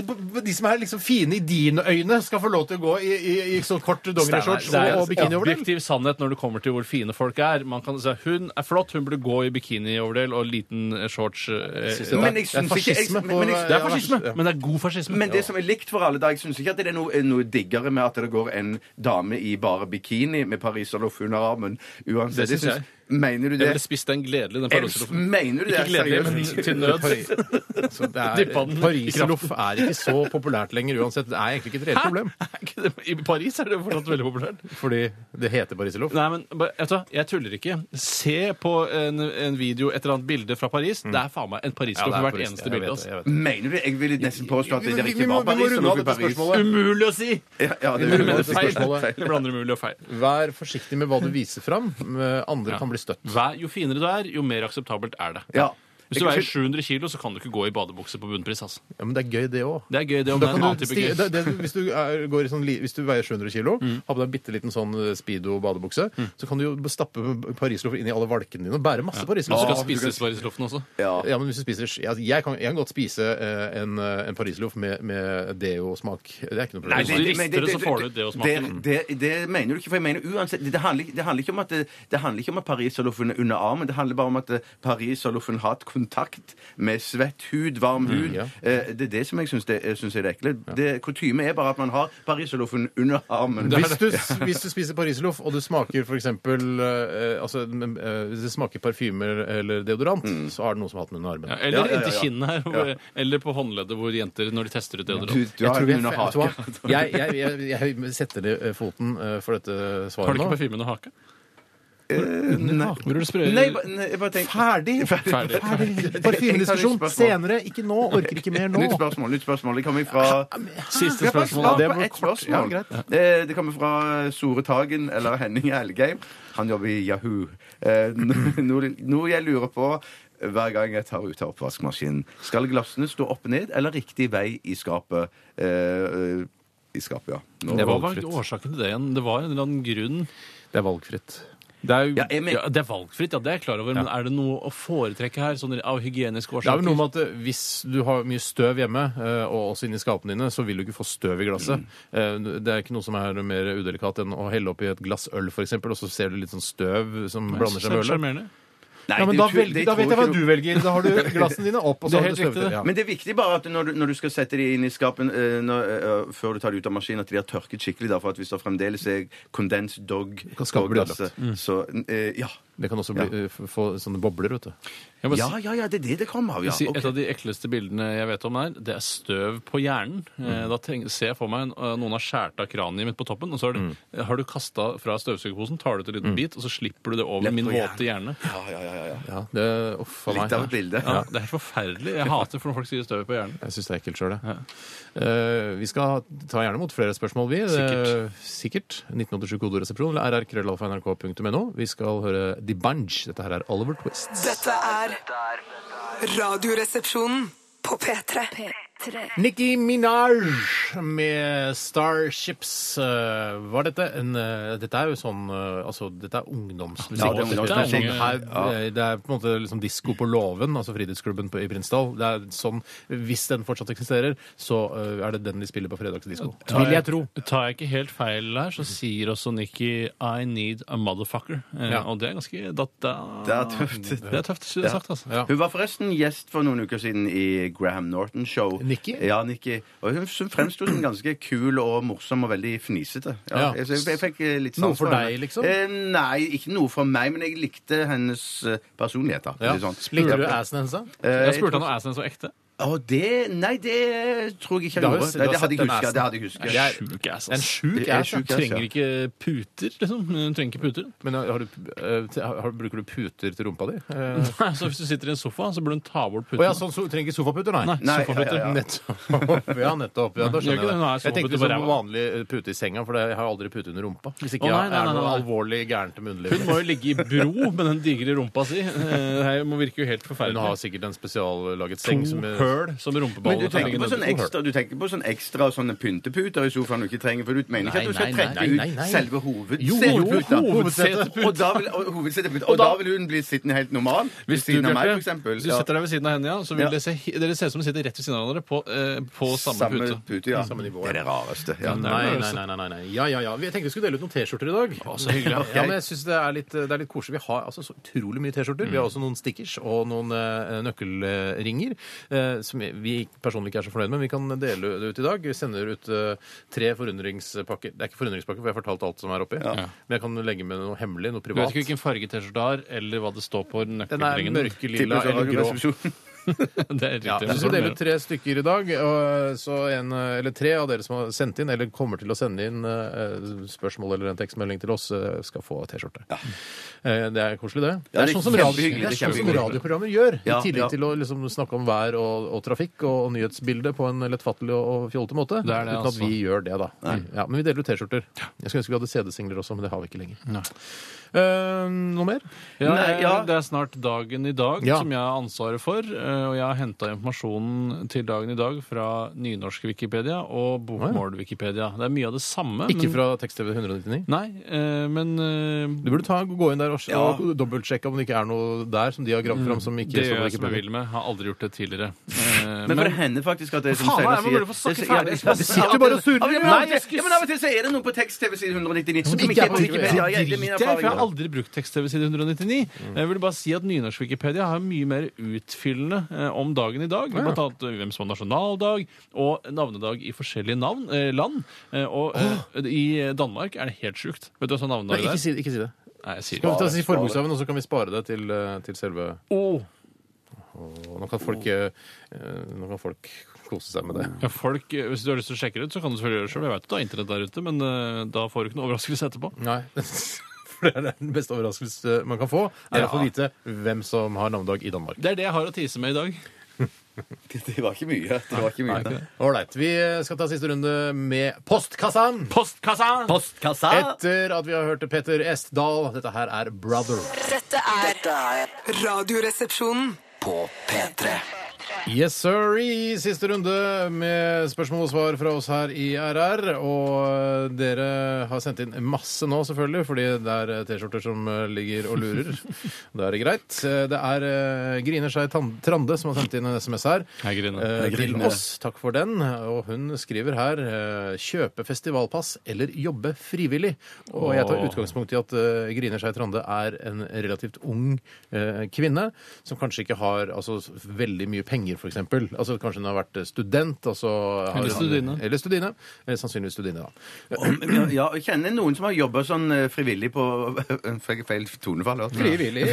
de som er liksom fine i dine øyne, skal få lov til å gå i, i, i sånn kort dongerishorts
Det er
og, og bikinioverden?
objektiv sannhet når det kommer til hvor fine folk er. Man kan si at Hun er flott, hun burde gå i bikinioverdel og liten eh, shorts. eh,
synes
eh,
det
Men jeg syns ikke jeg,
fascisme
men, men,
på-
jeg,
Det er fascisme, men det er god fascisme.
Men det som er likt for alle da, jeg syns ikke at det er noe, er noe diggere med at det går en dame i bare bikini med pariserloff under armen. Uansett.
Det synes
synes-
jeg.
Mener du
Jeg
det?
ville spist den gledelig, den
Elf,
parodiloffen.
mener du det?
Ikke gledelig, men
Seriøst?
til nød.
Så Altså, det er,
Dyppa den i
Pariserloff er ikke så populært lenger uansett. Det er egentlig ikke et reelt problem,
Er ikke det- I Paris er det fortsatt veldig populært.
fordi det heter pariserloff.
Nei, men bare- vet du, hva, jeg tuller ikke. Se på en, en video, et eller annet bilde fra Paris. Mm. Det er faen meg en parisklokke i hvert eneste bilde. Altså.
Mener du det? Jeg ville nesten påstå at det
Vi
ikke
må,
var
vi må
Paris.
runde av dette
det var Paris.
spørsmålet.
Umulig å si!
Ja, ja, det
Vi
er
må runde
umulig.
av dette
Feil.
spørsmålet.
Det blander umulig og feil.
Vær forsiktig med hva du viser fram. Eh, Andre kan bli støtt.
Vær, jo finere du er, jo mer akseptabelt er det.
Ja.
Hvis du veier 700 kilo, så kan du ikke gå i badebukse på bunnpris. Altså.
Ja, men det er gøy, det òg.
Det er gøy, det om det
Da kan
er en
du
annen type
sti-
gøy. Mm.
det, det, hvis, du er, går i sånn, li- hvis du veier 700 kilo, har på deg en bitte liten sånn eh, Speedo-badebukse, så kan du jo stappe parisloffer inn i alle valkene dine og bære masse
Men liksom. du skal
parisloffer.
spise svarisloffen også.
Ja.
Ja, men hvis du spiser sk- altså, jeg, kan, jeg kan godt spise eh, en, eh, en pariserloff med, med deo-smak. Det er ikke noe
Nei,
problem.
det- du rister det, så får du det å smake.
det- det- det mener du ikke, for jeg mener uansett Det, det, handler, ikke- det handler ikke om at, det- det handler ikke om at pariserloffen er under armen, det handler bare om at eh, pariserloffen har hatt kontakt med svett hud, varm hud.
Mm, ja.
Eh, Det er det som jeg syns det- jeg syns er det ekle. Det- Kutyme er bare at man har pariserloffen under armen.
Hvis du, hvis du spiser pariserloff, og du smaker for eksempel, eh, altså, eh, Hvis det smaker parfymer eller deodorant,
Mm.
så er det noen som har hatt den under armen.
Ja, eller
Ja, ja, ja,
inntil
ja.
kinnet her, hvor, eller på håndleddet hvor jenter, når de tester ut
Du,
deodorant
du har
tror
den
jeg-
under
vet du hva?
haken.
Jeg, jeg, jeg, jeg setter ned eh, foten eh, for dette
Har du
svaret
ikke
nå.
parfyme under haka?
Nei.
Hvor du sprøyter
Nei, ba- nei, jeg bare tenker
Ferdig!
ferdig.
Ferdig.
Parfymediskusjon
Parfymediskusjon senere, ikke nå. Orker ikke mer nå.
Nytt spørsmål. nytt spørsmål. Det kommer fra
Siste
Jeg bare
spørsmål.
svarer
Det
på
var
ett
kort.
spørsmål.
Ja,
Eh, Det kommer fra Sore Tagen eller Henning Elgheim. Han jobber i Yahoo. Eh, n- Noe noe jeg lurer på hver gang jeg tar ut av oppvaskmaskinen. Skal glassene stå opp ned eller riktig vei i skapet? Eh, I skapet, ja. Nå-
Hva var årsaken til det igjen? Det var en eller annen grunn.
Det er valgfritt.
Det er, jo,
Ja,
ja,
jeg men-
det er valgfritt, ja, det er jeg klar over, men er det noe å foretrekke her sånn av hygieniske
Det er
årsaker?
vel noe med at eh, Hvis du har mye støv hjemme, eh, og også inni skapene dine, så vil du ikke få støv i glasset. Eh, Det er ikke noe som er mer udelikat enn å helle oppi et glass øl, f.eks., og så ser du litt sånn støv som blander seg med ølet.
Nei,
Ja, men
det
da,
tror-
velger,
det
da
tror
vet jeg
ikke
hva
noe-
du velger. Da har du glassene dine opp, og
Det
så har
er
du
helt riktig,
støvtøy.
det.
Ja.
Men det er viktig bare at når du, når du skal sette de inn i skapen eh, når, eh, før du tar de ut av maskinen, at de har tørket skikkelig. Da, for at hvis det fremdeles er condensed dog
Kan skapet
på
bli
glasset,
Mm.
så eh, ja.
Det kan også bli, eh, f- få sånne bobler, vet du.
Jeg må
ja. Ja, ja, det er det det kommer av. Ja.
si,
ok.
Et av de ekleste bildene jeg vet om her, det er støv på hjernen. Eh, Da tenk, ser jeg for meg en- eh, noen har skåret av kraniet mitt på toppen, og så har du, har du kasta fra støvsugerposen, tar du ut en liten bit, og så slipper du det over
Lett
min
på
våte hjerne.
Ja, ja, ja, ja, ja.
Ja, det, uff, a
Litt
meg.
av et bilde.
Ja, det er helt forferdelig. Jeg hater for når folk sier støv på hjernen.
Jeg syns det er ekkelt sjøl, jeg. Eh, vi skal ta gjerne imot flere spørsmål, vi. Det-
Sikkert.
Sikkert. 1987 kodoresepsjon eller rrkrøllalfa.nrk.no. Vi skal høre The Bunge. Dette her er Oliver Twist.
Dette er Radioresepsjonen på P3.
Nikki Minaj med Starships. eh, var dette en eh, Dette er jo sånn eh, Altså, dette er ungdomsmusikk.
Ja, det er ungdomsmusikk.
Det er, eh, det er på en måte liksom disko på låven, altså fritidsklubben på, i Prinsdal. Det er sånn, Hvis den fortsatt eksisterer, så eh, er det den de spiller på fredagsdisko. Vil jeg tro.
Tar jeg ikke helt feil her, så sier også Nikki 'I need a motherfucker'. Eh,
Ja.
Og det er ganske da, da,
Det er tøft.
Det er tøft sagt, altså.
Ja.
Hun var forresten gjest for noen uker siden i Graham Norton Show.
Nikki?
Ja, Nikki. Og hun hun fremsto som ganske kul og morsom og veldig fnisete.
Ja.
Ja. Jeg, jeg, jeg fikk eh, litt sans
Noe for
henne.
deg, liksom?
Eh, nei, ikke noe for meg, men jeg likte hennes eh, personlighet. da.
Ja.
Litt sånn.
Likte du altså? assen hennes? da?
Eh,
Jeg spurte han om assen er så ekte.
Å, det Nei, det tror jeg ikke
Du
jeg
har jo
gjorde.
sett-
Nei,
du
det
har
hadde jeg
sett den
huska.
assen.
Det hadde jeg huska.
Det er-
Sjuk ass,
En
altså.
sjuk
Jeg er
ass. ja.
sjuk. ass,
Trenger
ja.
ikke puter, liksom. Hun trenger ikke puter.
Men har du, eh, til- har, bruker du puter til rumpa di? Eh,
Nei, så hvis du sitter i en sofa, så burde hun ta bort
Å
puten.
ja, sånn, so trenger ikke sofaputer, nei.
Nei,
Nei,
sofaputer.
ja, ja, ja.
Nettopp. Ja, nettopp. Ja, da
Gjør ikke
skjønner
det. Nå
jeg det. Jeg
er sofaputer
tenkte
på
som
ræva.
vanlig eh, pute i senga, for jeg har aldri pute under rumpa. Hvis ikke
Å, nei,
jeg
nei,
er
nei,
noe
nei.
alvorlig gærent med
Hun må
underlivet.
jo ligge i bro med den digre rumpa si. Eh, Det her må virke jo helt
Hun har
forferdelig.
sikkert en spesiallaget
To
seng som eh,
høl som
Men du
rumpeballene kan ligge
tenker, på sånn
nedi. To høl.
ekstra, du tenker på sånn ekstra sånne pynteputer i sofaen du ikke trenger, for du mener ikke
Nei,
at du skal
nei,
trekke
nei, nei, nei,
ut
nei.
selve
Jo,
hovedseteputa.
jo, hovedseteputa.
Og, da vil- og, hovedseteputa. og da vil hun bli sittende helt normal ved
Hvis du,
siden av meg,
Bjarte,
for eksempel.
hvis du
Ja.
setter deg ved siden av henne, ja, så vil
Ja.
det se, he- dere ser ut som dere sitter rett ved siden av hverandre på, eh, på samme, pute.
pute, ja.
Samme nivå, uh,
Det er det rareste. Ja.
Men det er
Nei,
jo-
nei, nei, nei, nei, nei. Ja, ja, ja. Vi- Jeg tenkte vi skulle dele ut noen T-skjorter i dag.
så hyggelig, ja.
Ja, men jeg synes det er litt, det er litt koselig. Vi
Mm.
har altså så utrolig mye T-skjorter. Vi har også noen stickers og noen eh, nøkkelringer. Eh, eh, som vi personlig ikke er så fornøyd med. Vi kan dele det ut i dag. Vi sender ut eh, tre forundringspakker. Det er ikke forundringspakker, for jeg har fortalt alt som er oppi. Men jeg kan legge med noe hemmelig, noe
Du vet
privat.
ikke hvilken farge T-skjorta har, eller hva det står på
Den er
nøkkelringen.
mørkelilla eller grå.
det er riktig.
Ja,
men
vi
så
skal
er det
dele ut
mer.
tre stykker i dag. og eh, Så en, eller tre av dere som har sendt inn, eller kommer til å sende inn eh, spørsmål eller en tekstmelding til oss, eh, skal få T-skjorte. Eh, Det er koselig, det. Det er
Ja, det er
sånn som, radio,
kjempehyggelig,
det er
det er
sånn som
kjempehyggelig.
radioprogrammer gjør. I
Ja, ja.
tillegg til å liksom snakke om vær og, og trafikk og, og nyhetsbildet på en lettfattelig og, og fjollete måte.
Det er det,
uten at
altså.
vi gjør det, da. Ja, men vi deler ut T-skjorter. Jeg skulle ønske vi hadde CD-singler også, men det har vi ikke lenger.
Nei.
Eh, noe mer?
Ja,
Nei,
jeg-
ja.
Det er snart dagen i dag
Ja.
som jeg har ansvaret for. eh, Og jeg har henta informasjonen til dagen i dag fra nynorsk Wikipedia og bokmål-Wikipedia. Det er mye av det samme.
Ikke
men-
fra Tekst-TV 199?
Nei, eh, men eh,
Du burde ta, gå inn der og,
Ja.
og dobbeltsjekke om det ikke er noe der som de har gravd fram. som ikke
Mm. det
står
gjør
på
jeg som jeg
Wikipedia.
vil med. Har aldri gjort det tidligere. Eh,
Men for det hender faktisk at det som
Faen,
Steinar
jeg må
sier
bare få snakke
det- ja,
ferdig.
ja, men
Du sitter jo bare og surrer.
av og til-
Nei,
jeg skulle-
Ja, men av og til så er det noe på tekst-TV side 199 som
ikke
ikke
er
er
på
på Wikipedia. Ja, det er min
driter jeg, for jeg har
erfaring.
aldri brukt tekst-TV side 199.
Mm.
Jeg vil bare si at Nynorsk Wikipedia har mye mer utfyllende eh, om dagen i dag. Blant annet eh, hvem som har nasjonaldag, og navnedag i forskjellige navn, eh, land. Eh, og eh, i Danmark er det helt sjukt. Vet du hva sånn
Nei,
navnedag
ikke
er?
si, det, ikke si det.
Nei, jeg sier
Kan vi ta
ikke.
si forbokstaven, og så kan vi spare det til, eh, til selve
Å.
og Nå kan folk, eh, eh, nå kan folk kose seg med det.
Ja, folk, eh, hvis du har lyst til å sjekke det ut, så kan du selvfølgelig gjøre det sjøl. Jeg vet at du har internett der ute, men eh, da får du ikke noe overraskelse etterpå.
Nei. For det er den beste overraskelse man kan få, er å få vite hvem som har navnedag i Danmark.
Det er det jeg har å tise med i dag.
Det var ikke mye. Det var ikke mye.
Ålreit. Vi eh, skal ta siste runde med postkassan.
Postkassa!
Postkassa.
Etter at vi har hørt Petter Estdal. Dette her er Brother.
Dette er
Dette er
Radioresepsjonen.
på P3.
Yes, sir. I siste runde med spørsmål og svar fra oss her i RR. Og eh, dere har sendt inn masse nå, selvfølgelig, fordi det er eh, T-skjorter som ligger og lurer. Da er det greit. Det er eh, Grine Skei Tan- Trande som har sendt inn en SMS her.
Hei, Grine.
eh,
Hei,
Til
Grine.
oss. Takk for den. Og hun skriver her eh, 'kjøpe festivalpass eller jobbe frivillig'. Og jeg tar
Åh.
utgangspunkt i at eh, Grine Skei Trande er en relativt ung eh, kvinne som kanskje ikke har altså, veldig mye penger, f.eks. Altså, kanskje hun har vært student. Altså, har,
Eller studine.
Eller studine. Eh, Sannsynligvis studine, da.
Ja, jeg kjenner noen som har jobba sånn eh, frivillig på Fikk jeg feil tonefall? da?
Frivillig.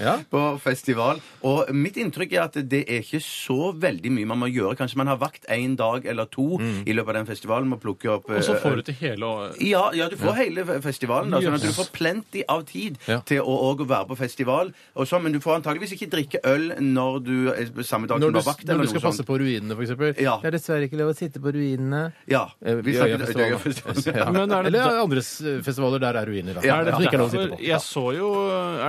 Ja.
På festival. Og mitt inntrykk er at det er ikke så veldig mye man må gjøre. Kanskje man har vakt én dag eller to
Mm.
i løpet av den festivalen med å plukke opp eh,
Og så får du til hele å-
ja, ja, du får hele fe- festivalen. Da, sånn at du får plenty av tid
Ja.
til å, å være på festival. Og så, men du får antageligvis ikke drikke øl når du er på samme dag
Når
som
du,
du har vakt.
når
Eller
du skal
noe
passe
sånt.
på ruinene, f.eks.
Ja.
Det er dessverre ikke lov å sitte på ruinene.
Ja,
Eh,
vi
i
snakker
Øyafestivalen.
Øyafestivalen.
Ja.
Men er det-
Eller andres eh, festivaler der er ruiner. Da.
Ja,
Er det,
Som ikke er lov å sitte
derfor,
på.
jeg så jo,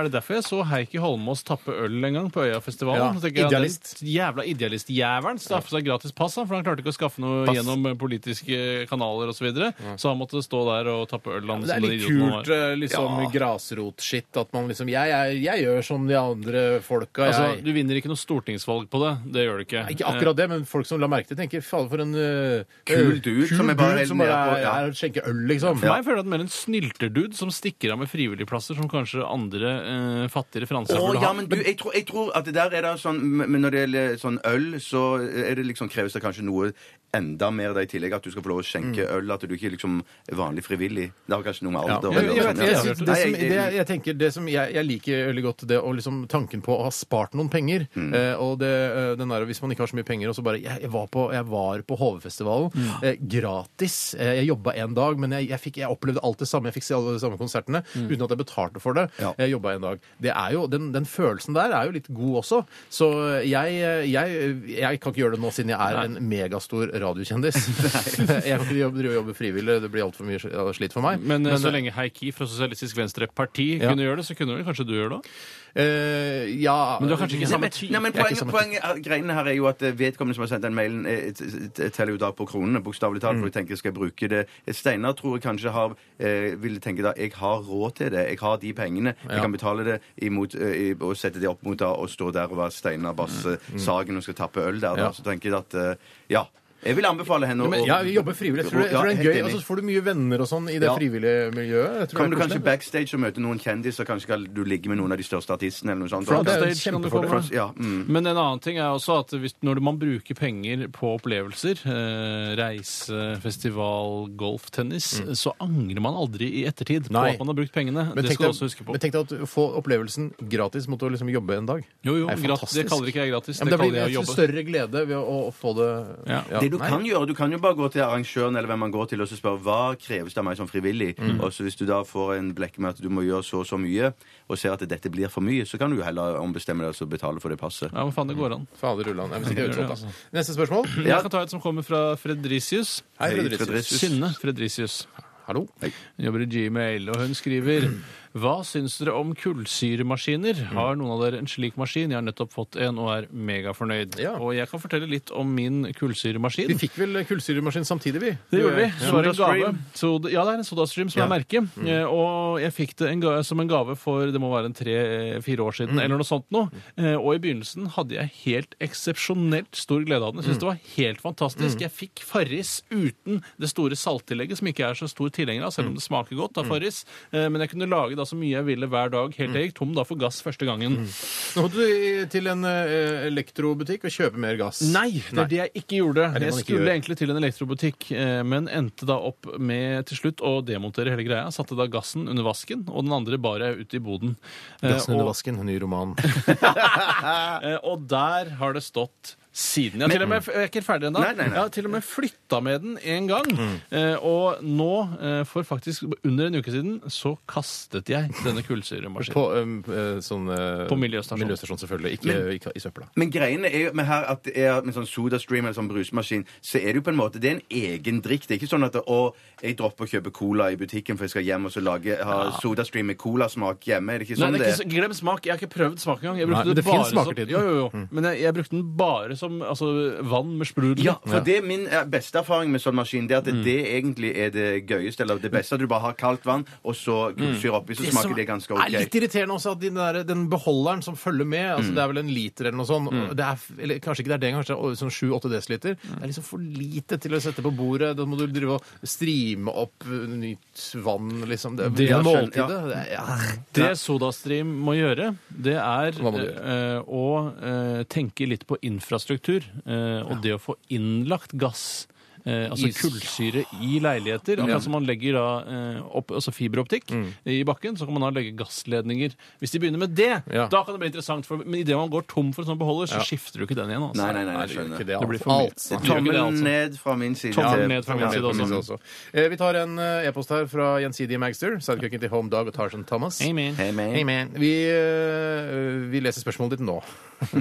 er det derfor jeg så Heikki Holmås tappe øl en gang på Øyafestivalen?
Ja,
Så tenker jeg,
idealist.
Den jævla idealistjævelen skaffet seg gratis pass, han, for han klarte ikke å skaffe noe
Pass.
gjennom politiske kanaler osv. Så, videre. så han måtte stå der og tappe øl. Han,
Det er
som den
litt
idioten han var.
kult, eh, liksom grasrotskitt, at man liksom jeg, jeg, jeg gjør som de andre folka, eh, jeg.
Altså, du vinner ikke noe stortingsvalg på det. Det gjør du ikke.
Ikke akkurat det, men folk som la merke til, tenker faen for en eh,
Kul
eh,
dude
kul
som er bare
dude
helt
som
nede
bare
på-
er-
ja.
er og skjenker øl, liksom.
Eh, For meg føler jeg at det er mer en snylterdude som stikker av med frivilligplasser som kanskje andre eh, fattigere franser
Å,
burde ha.
ja, men du, jeg tror, jeg tror at det der er det sånn Men når det gjelder sånn øl, så er det liksom, kreves det kanskje noe enda mer da i tillegg. At du skal få lov å skjenke
Mm.
øl. At du ikke liksom er vanlig frivillig. Det har kanskje noe med
Ja.
alder
Jeg,
å
jeg,
gjøre.
jeg, jeg,
Nei,
synes det som, det, jeg- jeg tenker det som jeg, jeg liker veldig godt det å liksom tanken på å ha spart noen penger.
Mm.
Eh, og det, eh, den der, hvis man ikke har så mye penger, og så bare Jeg, jeg var på, jeg var på HV-festivalen eh, gratis. Eh, jeg jobba en dag, men jeg, jeg, fikk, jeg opplevde alt det samme. Jeg fikk se alle de samme konsertene uten at jeg betalte for det.
Ja.
Jeg jobba en dag. Det er jo, den, den følelsen der er jo litt god også. Så jeg, jeg, jeg kan ikke gjøre det nå siden jeg er en megastor radiokjendis. jeg kan ikke jobbe, drive og jobbe frivillig. Det blir altfor mye slit for meg.
Men, eh, så lenge Heikki fra Sosialistisk Venstreparti
Ja.
kunne gjøre det, så kunne vel kanskje du gjøre det?
Eh, ja
Men du har kanskje ikke
Nei,
samme
men,
tid?
nei, men
Jeg er ikke
poenget,
samme
poenget er- greiene her er jo at eh, vedkommende som har sendt den mailen, eh, t- t- teller jo da på kronene, bokstavelig talt,
Mm.
for jeg tenker skal jeg bruke det. Steinar tror jeg kanskje har, eh, vil tenke da jeg har råd til det, jeg har de pengene, jeg kan betale det imot, eh, i- og sette det opp mot da, og stå der og være Steinar Basse Sagen og skal tappe øl der.
Mm, Ja.
Da. Så tenker jeg at eh, ja. Jeg vil anbefale henne å
Men, ja, vi jobber frivillig. Jeg tror, det- jeg
Ja,
tror det er
helt
gøy, altså,
enig.
og så får du mye venner og sånn i det
Ja.
frivillige miljøet. Jeg tror det
Kommer du
er
kanskje
koselig.
backstage og møter noen kjendiser? Kanskje skal du ligge med noen av de største artistene? eller noe sånt?
Front-
Og-
det er jo
Backstage kan du
kjempefordel.
komme.
Ja, mm.
Men en annen ting er også at hvis, når man bruker penger på opplevelser, eh, reise, festival, golf, tennis, så angrer man aldri i ettertid på
Mm. Nei.
at man har brukt pengene.
Men
det
tenk,
skal du også huske
deg,
på.
men tenk deg å få opplevelsen gratis mot å liksom jobbe en dag.
Jo, jo,
Det er
gratis, det
fantastisk.
kaller ikke jeg gratis.
Ja, men
det
det blir
kaller jeg å
en
jobbe.
større glede ved å, å få det
Ja.
Det du
nei.
kan gjøre, du kan jo bare gå til arrangøren eller hvem man går til og så spørre hva kreves det av meg som frivillig.
Mm.
Og så Hvis du da får en blekke med at du må gjøre så og så mye, og ser at dette blir for mye, så kan du jo heller ombestemme deg og så betale for det passet.
Ja, men faen, det går an.
Fader ulland. Jeg vil si det er utsolgt, altså. Neste spørsmål.
Ja.
Jeg kan ta et som kommer fra Fredricius.
Hei,
Hei,
Fredricius.
Fredricius.
Synne Fredricius.
Hallo.
Hun jobber i Gmail, og hun skriver Hva syns dere om kullsyremaskiner?
Mm.
Har noen av dere en slik maskin? Jeg har nettopp fått en og er megafornøyd.
Ja.
Og jeg kan fortelle litt om min kullsyremaskin.
Vi fikk vel kullsyremaskin samtidig, vi.
Det gjorde vi.
Ja.
Så var det en gave. Soda, ja, det er en SodaStream som er merket. Eh, Og jeg fikk det en ga som en gave for det må være en tre-fire år siden, eller noe sånt noe. Eh, Og i begynnelsen hadde jeg helt eksepsjonelt stor glede av den. Jeg synes det var helt fantastisk. Jeg fikk Farris uten det store salttillegget, som ikke er så stor tilhenger av, selv om det smaker godt av Farris. Eh, Men jeg kunne lage da så mye jeg ville hver dag, helt til jeg gikk tom da for gass første gangen.
Nå måtte du i- til en eh, elektrobutikk og kjøpe mer gass.
Nei, det er det jeg ikke
det
gjorde. Jeg
man ikke
skulle
gjør.
egentlig til en elektrobutikk, eh, men endte da opp med til slutt å demontere hele greia. Satte da gassen under vasken, og den andre bar jeg ut i boden. Eh,
Gassen under
og-
vasken, en ny roman.
Eh, Og der har det stått siden. Jeg, har til og med, jeg er ikke ferdig ennå.
Nei, nei, nei.
Jeg har til og med flytta med den en gang.
Mm.
Eh, og nå, eh, for faktisk under en uke siden, så kastet jeg denne kullsyremaskinen.
På um, eh, sånn eh,
På miljøstasjon.
miljøstasjon, selvfølgelig. Ikke ikke i søpla.
Men greiene er jo med her at det er med sånn sodastream eller sånn brusmaskin, så er det jo på en måte det er en egen drikk. Det er ikke sånn at å, jeg dropper å kjøpe cola i butikken for jeg skal hjem og så lage, ha sodastream med colasmak hjemme. Er det ikke
Nei,
sånn
det er
det
ikke, så- glem smak. Jeg har ikke prøvd smak engang. Jeg
Nei,
brukte
men det
det
finnes
bare som,
smaker til den. Mm.
jo, jo, jo. Men jeg, jeg brukte den bare som altså, vann med sprudel.
Ja, for det er min eh, beste erfaring med sånn maskin, det er at det egentlig er det gøyeste, eller det beste, at du bare har kaldt vann, og så kullsyre oppi, så smaker det ganske
er litt
ok.
irriterende også, at den, der, den beholderen som følger med, altså det er vel en liter eller noe sånt, og det er, eller kanskje ikke det er det, kanskje det er sånn 7-8 desiliter, det er liksom for lite til å sette på bordet, da må du drive og streame opp uh, nytt vann, liksom. Det,
Det
det er
skjønner-
måltidet. Det er, ja. Mm.
Det SodaStream må gjøre, det er
Hva må du
eh, å eh, tenke litt på infrastruktur. eh, og det å få innlagt gass, eh, altså
Is.
kullsyre, i leiligheter. Akkurat som man legger da eh, opp, altså fiberoptikk i bakken, så kan man da legge gassledninger. Hvis de begynner med det,
Ja.
da kan det bli interessant. For, men idet man går tom for en sånn beholder, så skifter du ikke den igjen. Altså.
Nei, nei, nei, jeg
Ikke
skjønner.
det,
Det altså. blir
alt.
for mye.
alt.
Det gjør ikke det,
Tommelen
altså.
ned fra min side.
Tommelen
til-
ned fra min
Ja,
side også.
Precis også. Eh, vi tar en eh, e-post her fra Gjensidige Magster, sidekicken til Home Dog og Tarzan Thomas.
Amen.
Hey, man.
Amen. Vi, eh, vi leser spørsmålet ditt nå.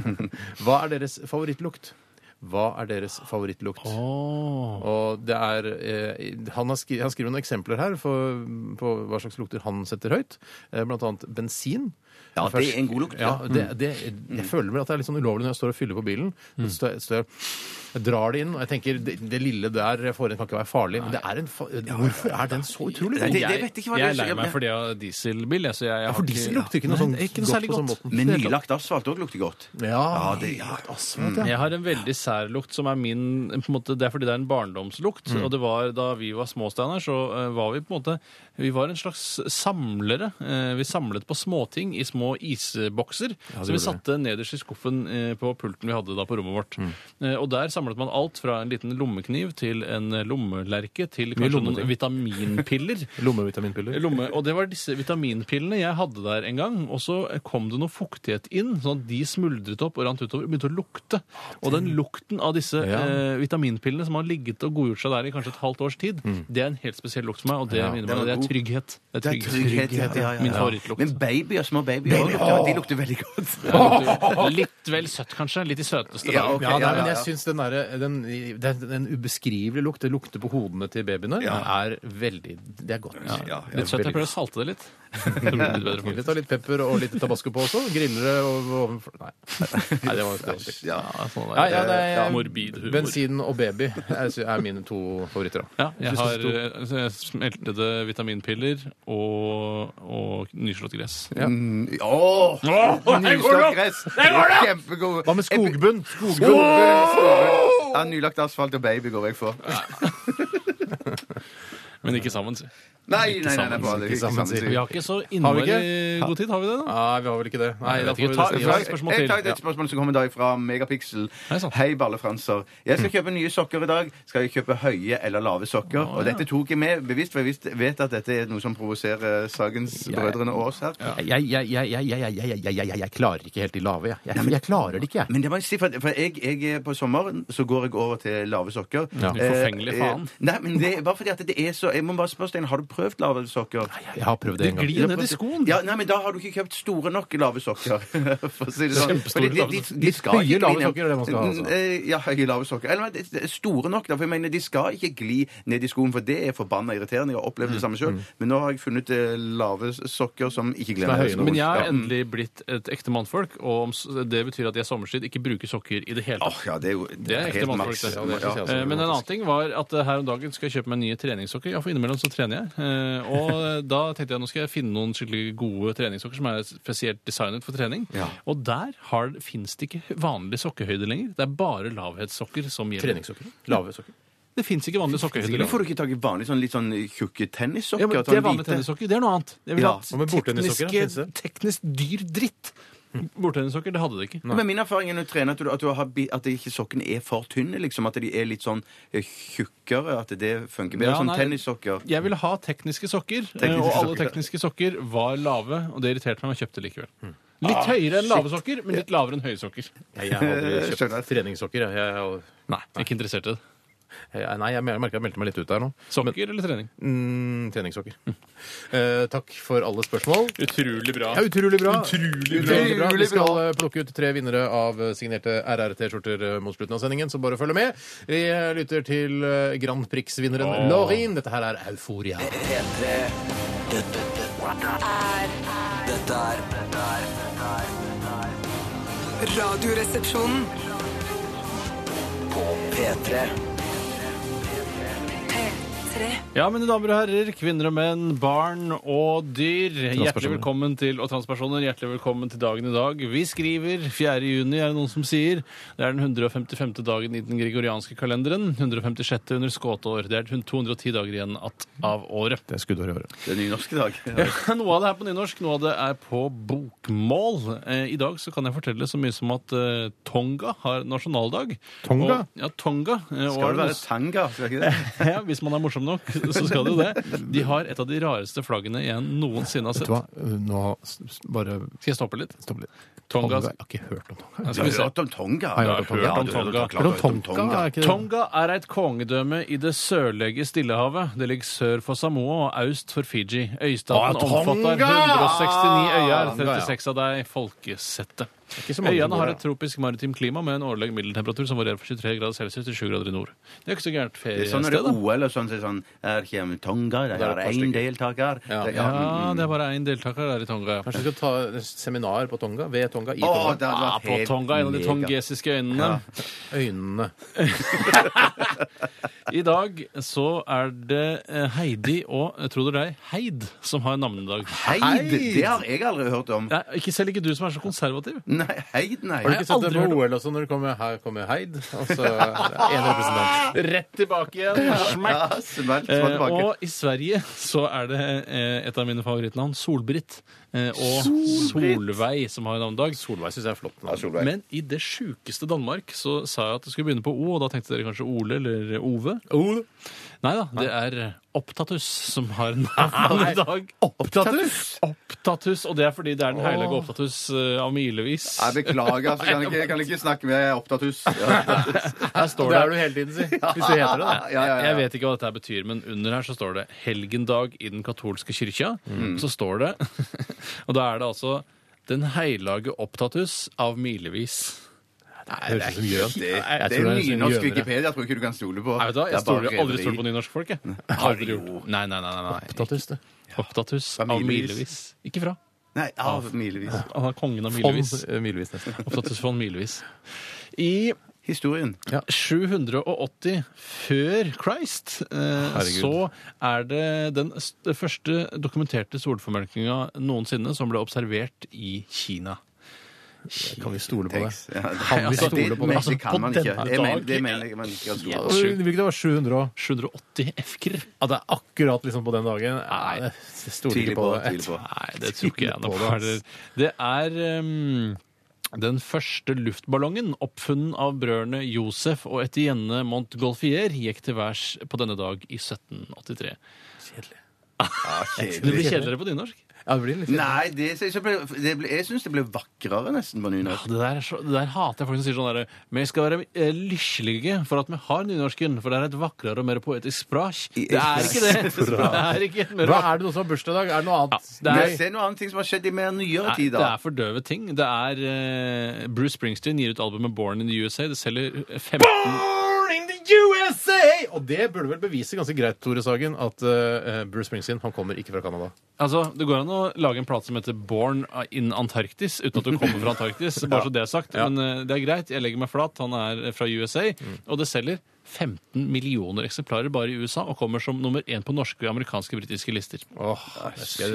Hva er deres favorittlukt? Hva er deres favorittlukt? Og det er, eh, han, har skri, han skriver noen eksempler her for, på hva slags lukter han setter høyt. Eh, blant annet bensin.
Ja, det er en god lukt,
Ja,
ja. Mm.
det, det, jeg føler vel at det er litt sånn ulovlig når jeg står og fyller på bilen.
Mm.
Så jeg, så jeg, jeg drar det inn, og jeg tenker det, det lille der jeg får inn, kan ikke være farlig. Men det er en fa hvorfor er den så utrolig
Det-
god?
det vet jeg ikke hva det
jeg
er,
er lei
så-
meg for det av dieselbil. Jeg, så jeg, jeg har
For
ikke-
diesel lukter ikke noe sånn
Nei, ikke noe
godt
særlig
på sånn
godt.
måten.
Men nylagt asfalt òg lukter godt.
Ja,
Ja, det- ja.
asfalt, ja.
Jeg har en veldig sær lukt som er min på en måte, Det er fordi det er en barndomslukt. Og det var da vi var små, Steinar, så eh, var vi på en måte Vi var en slags samlere. Eh, vi samlet på småting i små isbokser som vi satte nederst i skuffen eh, på pulten vi hadde da på rommet vårt. Eh, og der samlet man alt fra en liten lommekniv til en lommelerke til kanskje noen vitaminpiller.
Lommevitaminpiller.
Lomme, og det var disse vitaminpillene jeg hadde der en gang. Og så kom det noe fuktighet inn, sånn at de smuldret opp og rant utover. Begynte å lukte. Og den lukten av disse
Ja.
eh, vitaminpillene som har ligget og godgjort seg der i kanskje et halvt års tid,
Mm.
det er en helt spesiell lukt for meg, og det, minner
den
meg,
var
det er
god.
trygghet. Det
Det er trygghet, ja, ja, ja.
Min
ja.
favorittlukt.
Men babyer, små babyer, også lukter, de lukter veldig godt.
Litt vel søtt, kanskje. Litt i søteste
Ja,
dagen.
ok,
Ja, nei, men
ja,
jeg
ja.
syns den, derre- den, den, den ubeskrivelige lukt, det lukter på hodene til babyene, er veldig Det er godt.
ja, ja.
Litt søtt. Jeg prøver å salte det litt. Så blir det litt bedre,
Vi
faktisk.
tar litt pepper og litt tabasco på også. Griller det over ovenfor Nei. Nei, det var jo spesielt.
Ja.
Ja, sånn er
Nei,
det.
ja, det er,
Morbid humor.
Bensin og baby er, er mine to favoritter. da.
Ja, jeg
Hvis du
har
skal stå-
eh, smeltede vitaminpiller og, og nyslått gress. Mm.
Åh,
Åh,
Nyslått gress. Kjempegod.
Hva med skogbunn? Skogbunn.
Skogbunn, skogbunn. Ja, Ja, nylagt asfalt og baby går jeg for.
Men ikke sammen, si.
Nei, nei, nei, nei,
sammen,
bare,
ikke
ikke
sammen,
sammen, sier
Vi
vi.
har ikke så
vi
innmari
ikke?
god tid, har vi det? da?
Nei, vi har vel ikke det. Nei,
Jeg
da
vet
får
ikke,
vi
ta-
nesten gi
ta-
oss.
et spørsmål
Ah, Jeg
til.
tar et spørsmål som kommer da fra Megapixel.
Hei, sånn. Hm. sant.
Hei, ballefranser. Jeg skal kjøpe nye sokker i dag. Skal jeg kjøpe høye eller lave sokker?
Ah,
Og dette tok jeg med bevisst, for jeg visst- vet at dette er noe som provoserer Sagens brødrene og oss her.
Jeg, jeg, jeg, jeg, jeg, jeg, jeg, jeg, jeg, jeg klarer ikke helt de lave, jeg. Jeg, jeg klarer det ikke, jeg.
Men det må jeg si, for, for jeg, jeg er på sommeren så går jeg over til lave sokker.
Du forfengelige faen.
Eh, nei, men det er bare fordi at det er så Jeg må bare spørre, Stein, har du prøvd lave sokker?
Jeg har prøvd det en gang.
Glir ned i skoen.
Ja, nei, men Da har du ikke kjøpt store nok lave sokker. for å si det sånn.
Kjempestore
Fordi de,
lave
de,
sokker.
de, de skal
Litt høye
ikke
lave sokker
gli ned.
er det man skal ha, altså.
Mm, eh, Ja, høye lave sokker. Eller men, det- det er store nok. Da, for jeg mener, De skal ikke gli ned i skoen, for det er forbanna irriterende. Jeg har opplevd det samme sjøl. Men nå har jeg funnet eh, lave sokker som ikke
Som er
glir ned
høye nok.
i skoen.
Men jeg
Ja.
har endelig blitt et ekte mannfolk, og om s- det betyr at jeg sommerstid ikke bruker sokker i det hele tatt.
Åh, ja, det er jo
Det er ekte
helt
mannfolk.
maks.
det.
altså.
Ja, det er-
Eh, Men en annen ting var at eh, her om dagen skal jeg kjøpe meg nye treningssokker. Ja, for innimellom så trener jeg. Eh, Og eh, da tenkte jeg nå skal jeg finne noen skikkelig gode treningssokker som er spesielt designet for trening. Og der fins det ikke vanlig sokkehøyde lenger. Det er bare lavhetssokker som gjelder.
Treningssokker. Lave sokker.
Det fins ikke vanlig sokkehøyde
Men
lenger.
får du ikke tak i vanlig sånn litt sånn tjukke tennissokker?
Ja, men
sånn
det er vanlig
hvite?
tennissokker. Det er noe annet. Jeg vil
Ja,
ha
og med bordtennissokker,
tekniske-
finnes det? Hm.
teknisk dyr dritt. Bordtennissokker, det hadde det ikke.
Men min erfaring er når du trener at, du, at, du har, bi- at ikke sokkene er for tynne, liksom. At de er litt sånn eh, tjukkere, at det funker bedre.
Ja,
sånn
nei.
tennissokker.
Jeg ville ha tekniske sokker, eh, og alle tekniske sokker var lave, og det irriterte meg, men jeg kjøpte likevel. Litt høyere enn lave sokker, men litt lavere enn høye sokker.
Nei, Jeg har aldri kjøpt treningssokker. Jeg, jeg,
Nei, ikke interessert i det.
jeg, nei, jeg merker jeg meldte meg litt ut der nå.
Sokker eller trening?
Mm, treningssokker. Eh, takk for alle spørsmål.
Utrolig bra.
Ja, utrolig bra.
Utrolig bra.
Utrolig bra. Vi skal eh, plukke ut tre vinnere av eh, signerte RRT-skjorter eh, mot slutten av sendingen, så bare følg med. Vi eh, lytter til eh, Grand Prix-vinneren
Åh.
Laurin. Dette her er Euforia.
P3 Dette er Dette er Dette er dette er
Radioresepsjonen.
På P3
P3.
Ja, mine damer og herrer, kvinner og menn, barn og dyr. Hjertelig
Transpersoner.
velkommen til og transpersoner, hjertelig velkommen til dagen i dag. Vi skriver 4. juni, er det noen som sier. Det er den 155. dagen i den gregorianske kalenderen. 156. under skåteår. Det er 210 dager igjen att av året.
Det er skuddår i året.
Det er nynorsk i dag.
Noe av det er på nynorsk, noe av det er på bokmål. Eh, I dag så kan jeg fortelle så mye som at eh, Tonga har nasjonaldag.
Tonga?
Og, ja, Tonga. Eh, og er
Skal det være
noe-
tanga? Skal det ikke det?
ja, hvis man er morsom nok, så skal det jo det. De har et av de rareste flaggene jeg noensinne har
Vet
sett.
du hva? Eh, Nå s- s- bare
Skal jeg stoppe litt?
stopp litt.
Tonga. altså.
Jeg har ikke hørt om Tonga.
Ja,
Du
Skal vi
har
se.
hørt om tonga?
jeg har hørt om
Tonga.
Ja, du har hørt
Hørt om
klart
Tonga? Er ikke det-
Tonga er et kongedømme i det sørlige Stillehavet. Det ligger sør for Samoa og øst for Fiji.
Å,
Øystaten
Tonga!
omfatter 169 øyer,
Tonga, ja.
36 av deg folkesette.
ikke så mange som
Øyene
bor
har
der.
et tropisk maritimt klima med en årlig middeltemperatur som varierer fra 23 grader celsius til 7 grader i nord. Det er ikke så gærent
Det er sånn når det
feriested,
er
da.
OL og sånn, så er det sånn Her kommer Tonga, der
Da er
har
det et par
én
stykker.
deltaker. Det-
Ja,
mm, mm.
det er bare én deltaker der i Tonga. ja.
Kanskje vi skal ta et seminar på Tonga? Ved Tonga? I
Å,
Tonga?
det hadde vært
Ah, på
helt
Tonga, en av de
mega.
tongesiske øynene.
Øynene.
I dag så er det eh, Heidi og, eh, tro det eller ei, Heid som har navnedag.
Heid! Det har jeg aldri hørt om.
Nei, ikke selv ikke du som er så konservativ.
Nei, heid, nei.
Har du ikke sett det på
aldri hørt om-
OL også, når det kommer her kommer Heid? Og så er det en representant.
Rett tilbake igjen.
Ja, smelt, smelt
Eh,
tilbake.
og i Sverige så er det eh, et av mine favorittnavn, Solbritt. Eh, og Solveig som har navnedag.
Solveig syns jeg er flott. navn.
Ja, Solveig.
Men i det sjukeste Danmark så sa jeg at det skulle begynne på O, og da tenkte dere kanskje Ole eller Ove.
Ole.
Nei da, det er Opptatus som har navnedag.
Opptatus?
Opptatus, og det er fordi det er den hellige Opptatus eh, av milevis.
Jeg beklager, så kan jeg ikke, jeg kan ikke snakke med jeg er opptatt hus. Ja.
Her står
Det
det
er du hele tiden, si. Hvis du heter det, da.
Ja, ja, ja.
Jeg vet ikke hva dette her betyr, men under her så står det 'helgendag i den katolske kyrkja'. Så står det Og da er det altså 'Den heilage opptatus av milevis'.
Nei, det er ikke gjøn.
Det,
Jeg
det
tror
er
det er sånn
nynorsk
gjønere.
Wikipedia. Jeg tror ikke du kan stole på.
Nei, vet du hva?
Det
Jeg
er bare
stoler jeg har aldri
reveri.
stolt på nynorsk folk. Jeg. Aldri gjort. Nei, nei, nei, nei, nei.
Opptatus, det.
Opptatus
Av
av
milevis.
milevis. Ikke fra.
Nei, av milevis.
Han er kongen av eh, milevis.
Milevis. Milevis, nesten.
Opptatus von milevis. I
Historien.
780 før Christ eh, så er det den st- første dokumenterte solformørkinga noensinne som ble observert i Kina.
Kan vi stole på det?
Takes. Ja, det-
Kan vi
altså,
stole på det?
men Det kan man ikke.
denne
Jeg mener, det
dag-
mener jeg man ikke kan stole på.
Ja, Hvilket var 700 òg?
780 F-er.
Ja, det er akkurat liksom på den dagen. Nei, jeg stoler
Tviler
ikke på
på,
det.
tviler på.
Nei, det tror ikke jeg
Tviler
noe
på
på.
det, ass.
Det er ehm, den første luftballongen oppfunnet av brødrene Josef og Etienne Montgolfier gikk til værs på denne dag i 1783.
Ja,
Det blir
kjedelig.
kjedeligere på nynorsk.
Ja, det blir litt
Ah, Nei, det, så- så ble, det ble, jeg syns det ble vakrere nesten
Ja,
på nynorsk.
Det der, er så, det der hater jeg folk som sier sånn derre Vi skal være eh, lykkelige for at vi har nynorsken, for det er et vakrere og mer poetisk språk. Det er ikke det! Det er ikke et mer
Hva er det noe som har bursdag i dag? Er det noe annet?
det er-
Men Det er noe annet ting som har skjedd i mer nyere
Nei,
tid.
det
da.
er for døve ting. Det er eh, Bruce Springsteen gir ut albumet Born in the USA. Det selger 15
Born in the USA! Og det burde vel bevise ganske greit, Tore Sagen, at eh, Bruce Springsteen han kommer ikke fra Canada.
Altså, Det går an å lage en plate som heter Born in Antarktis, uten at du kommer fra Antarktis. bare så det er sagt. Men eh, det er greit, jeg legger meg flat. Han er eh, fra USA, og det selger 15 millioner eksemplarer bare i USA, og kommer som nummer én på norske, amerikanske, britiske lister.
Åh, det, skal,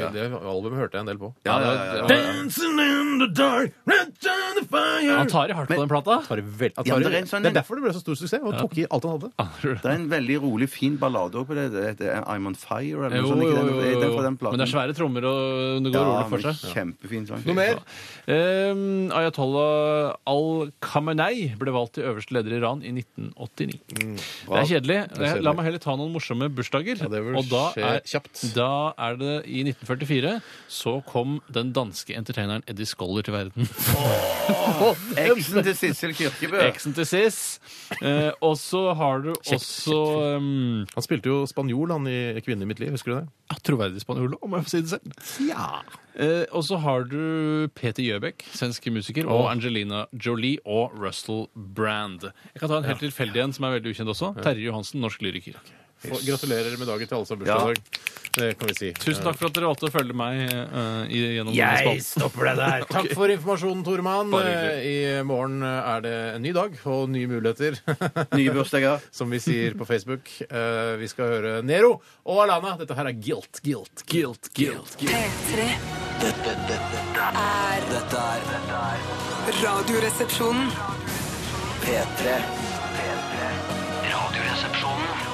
jeg- det albumet hørte jeg en del på.
Ja, ja, ja, ja.
Dancing in the dark, rent on the fire
Han tar i hardt på den plata.
Atari, vel, Atari,
Ja, men det er en sånn-
Det er derfor det ble så stor suksess. Han tok i alt han hadde.
Det er en veldig rolig, fin ballade òg på det. Det heter I'm On Fire eller
Jo,
noe
jo, jo,
sånt. Ikke den, er den
jo.
fra den platen.
Men det er svære trommer, og det går
ja,
rolig for
men
seg.
Kjempefin sang.
Noe mer?
Um, Ayatollah al-Khamenei ble valgt til øverste leder i Iran i 1989.
Mm,
det er kjedelig. Eh,
kjedelig.
La meg heller ta noen morsomme bursdager.
Ja, det vil
og da
skje
er,
kjapt.
da er det i 1944 så kom den danske entertaineren Eddie Scholler til verden.
Eksen til Sissel Kirkebø.
Eksen til Sis. Eh, og så har du også um,
Han spilte jo spanjol han i Kvinne i mitt liv, husker du det?
ja, Troverdig spanjol, om jeg får si det selv. Eh, og så har du Peter Gjøbekk, svensk musiker, og Angelina Jolie og Russell Brand. Jeg kan ta en helt tilfeldig en som er veldig ukjent også. Terje Johansen, norsk lyriker.
Og gratulerer med dagen til alle som har bursdag i dag. Det kan vi si.
Tusen takk for at dere valgte å følge meg eh, i, gjennom denne
Jeg
spalten.
stopper det der. Takk for informasjonen, Tormann.
Bare hyggelig.
I morgen er det en ny dag og nye muligheter,
Nye bursdager.
som vi sier på Facebook. Eh, Vi skal høre Nero og Alana. Dette her er Guilt, Guilt, Guilt, Guilt. guilt.
P3
Dette, dette, dette er Dette er dette er
Radioresepsjonen.
P3. P3. Radioresepsjonen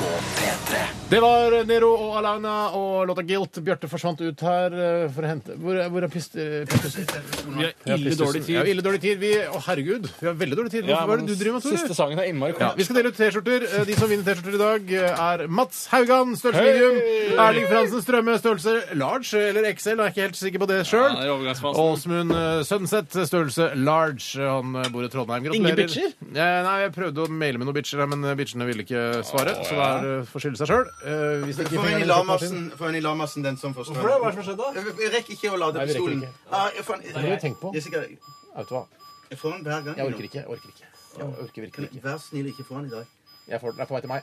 på P3.
Det var Nero og Alana og låta Guilt. Bjarte forsvant ut her eh, for å hente Hvor, er- hvor er pist... eh, Pistusen?
Vi har ille dårlig
Ja,
tid.
ille dårlig tid. Vi, å, herregud, vi har veldig dårlig tid. Hvorfor,
Ja,
Hva er
men
det du driver med, Tore?
Siste sangen er innmari
Ja,
kort.
vi skal dele ut T-skjorter. Eh, De som vinner T-skjorter i dag, eh, er Mats Haugan, størrelse medium. Erling Fransen Strømme, størrelse large eller XL. Jeg er ikke helt sikker på det sjøl.
Ja, det er overgangsfasen.
Åsmund eh, Sønseth, størrelse large. Han eh, bor i Trondheim. Gratulerer.
Ingen bitcher?
Eh, Nei, jeg prøvde å maile med noen bitcher, her, men eh, bitchene ville ikke svare. Så da er det- får skylde seg Eh, sjøl.
Få en i Lamarsen, få en i Lamarsen, den som får strøm.
Hva er det som har skjedd, da?
Jeg- Jeg rekker ikke å lade
Nei, vi rekker
pistolen.
ikke.
Ah, jeg får den-
Det har vi tenkt på.
Jeg er sikker-
Vet du hva?
Jeg får den hver gang.
Jeg orker ikke. Jeg orker ikke. Jeg orker virkelig ikke.
Vær snill, ikke få den i dag.
Jeg får den. Den er på vei til meg.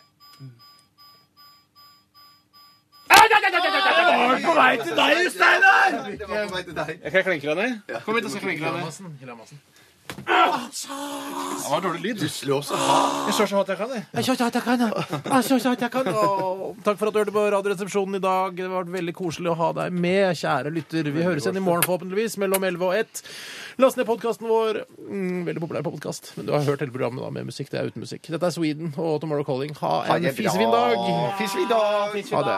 Det var på vei til deg.
Jeg kan klinke deg ned. Kom hit, så klinker jeg deg ned. Det var dårlig lyd. Jeg slår så hardt jeg kan, jeg.
Jeg så at jeg kan, jeg. Jeg så at jeg kan. Og Takk for at du hørte på Radioresepsjonen i dag. Det har vært veldig koselig å ha deg med, kjære lytter. Vi høres igjen i morgen forhåpentligvis mellom 11 og 1. Last ned podkasten vår. Mm, veldig populær podkast. Men du har hørt hele programmet da med musikk. Det er uten musikk. Dette er Sweden og Tomorrow Calling. Ha en fisefin dag.
Fisefin dag!
Ha det.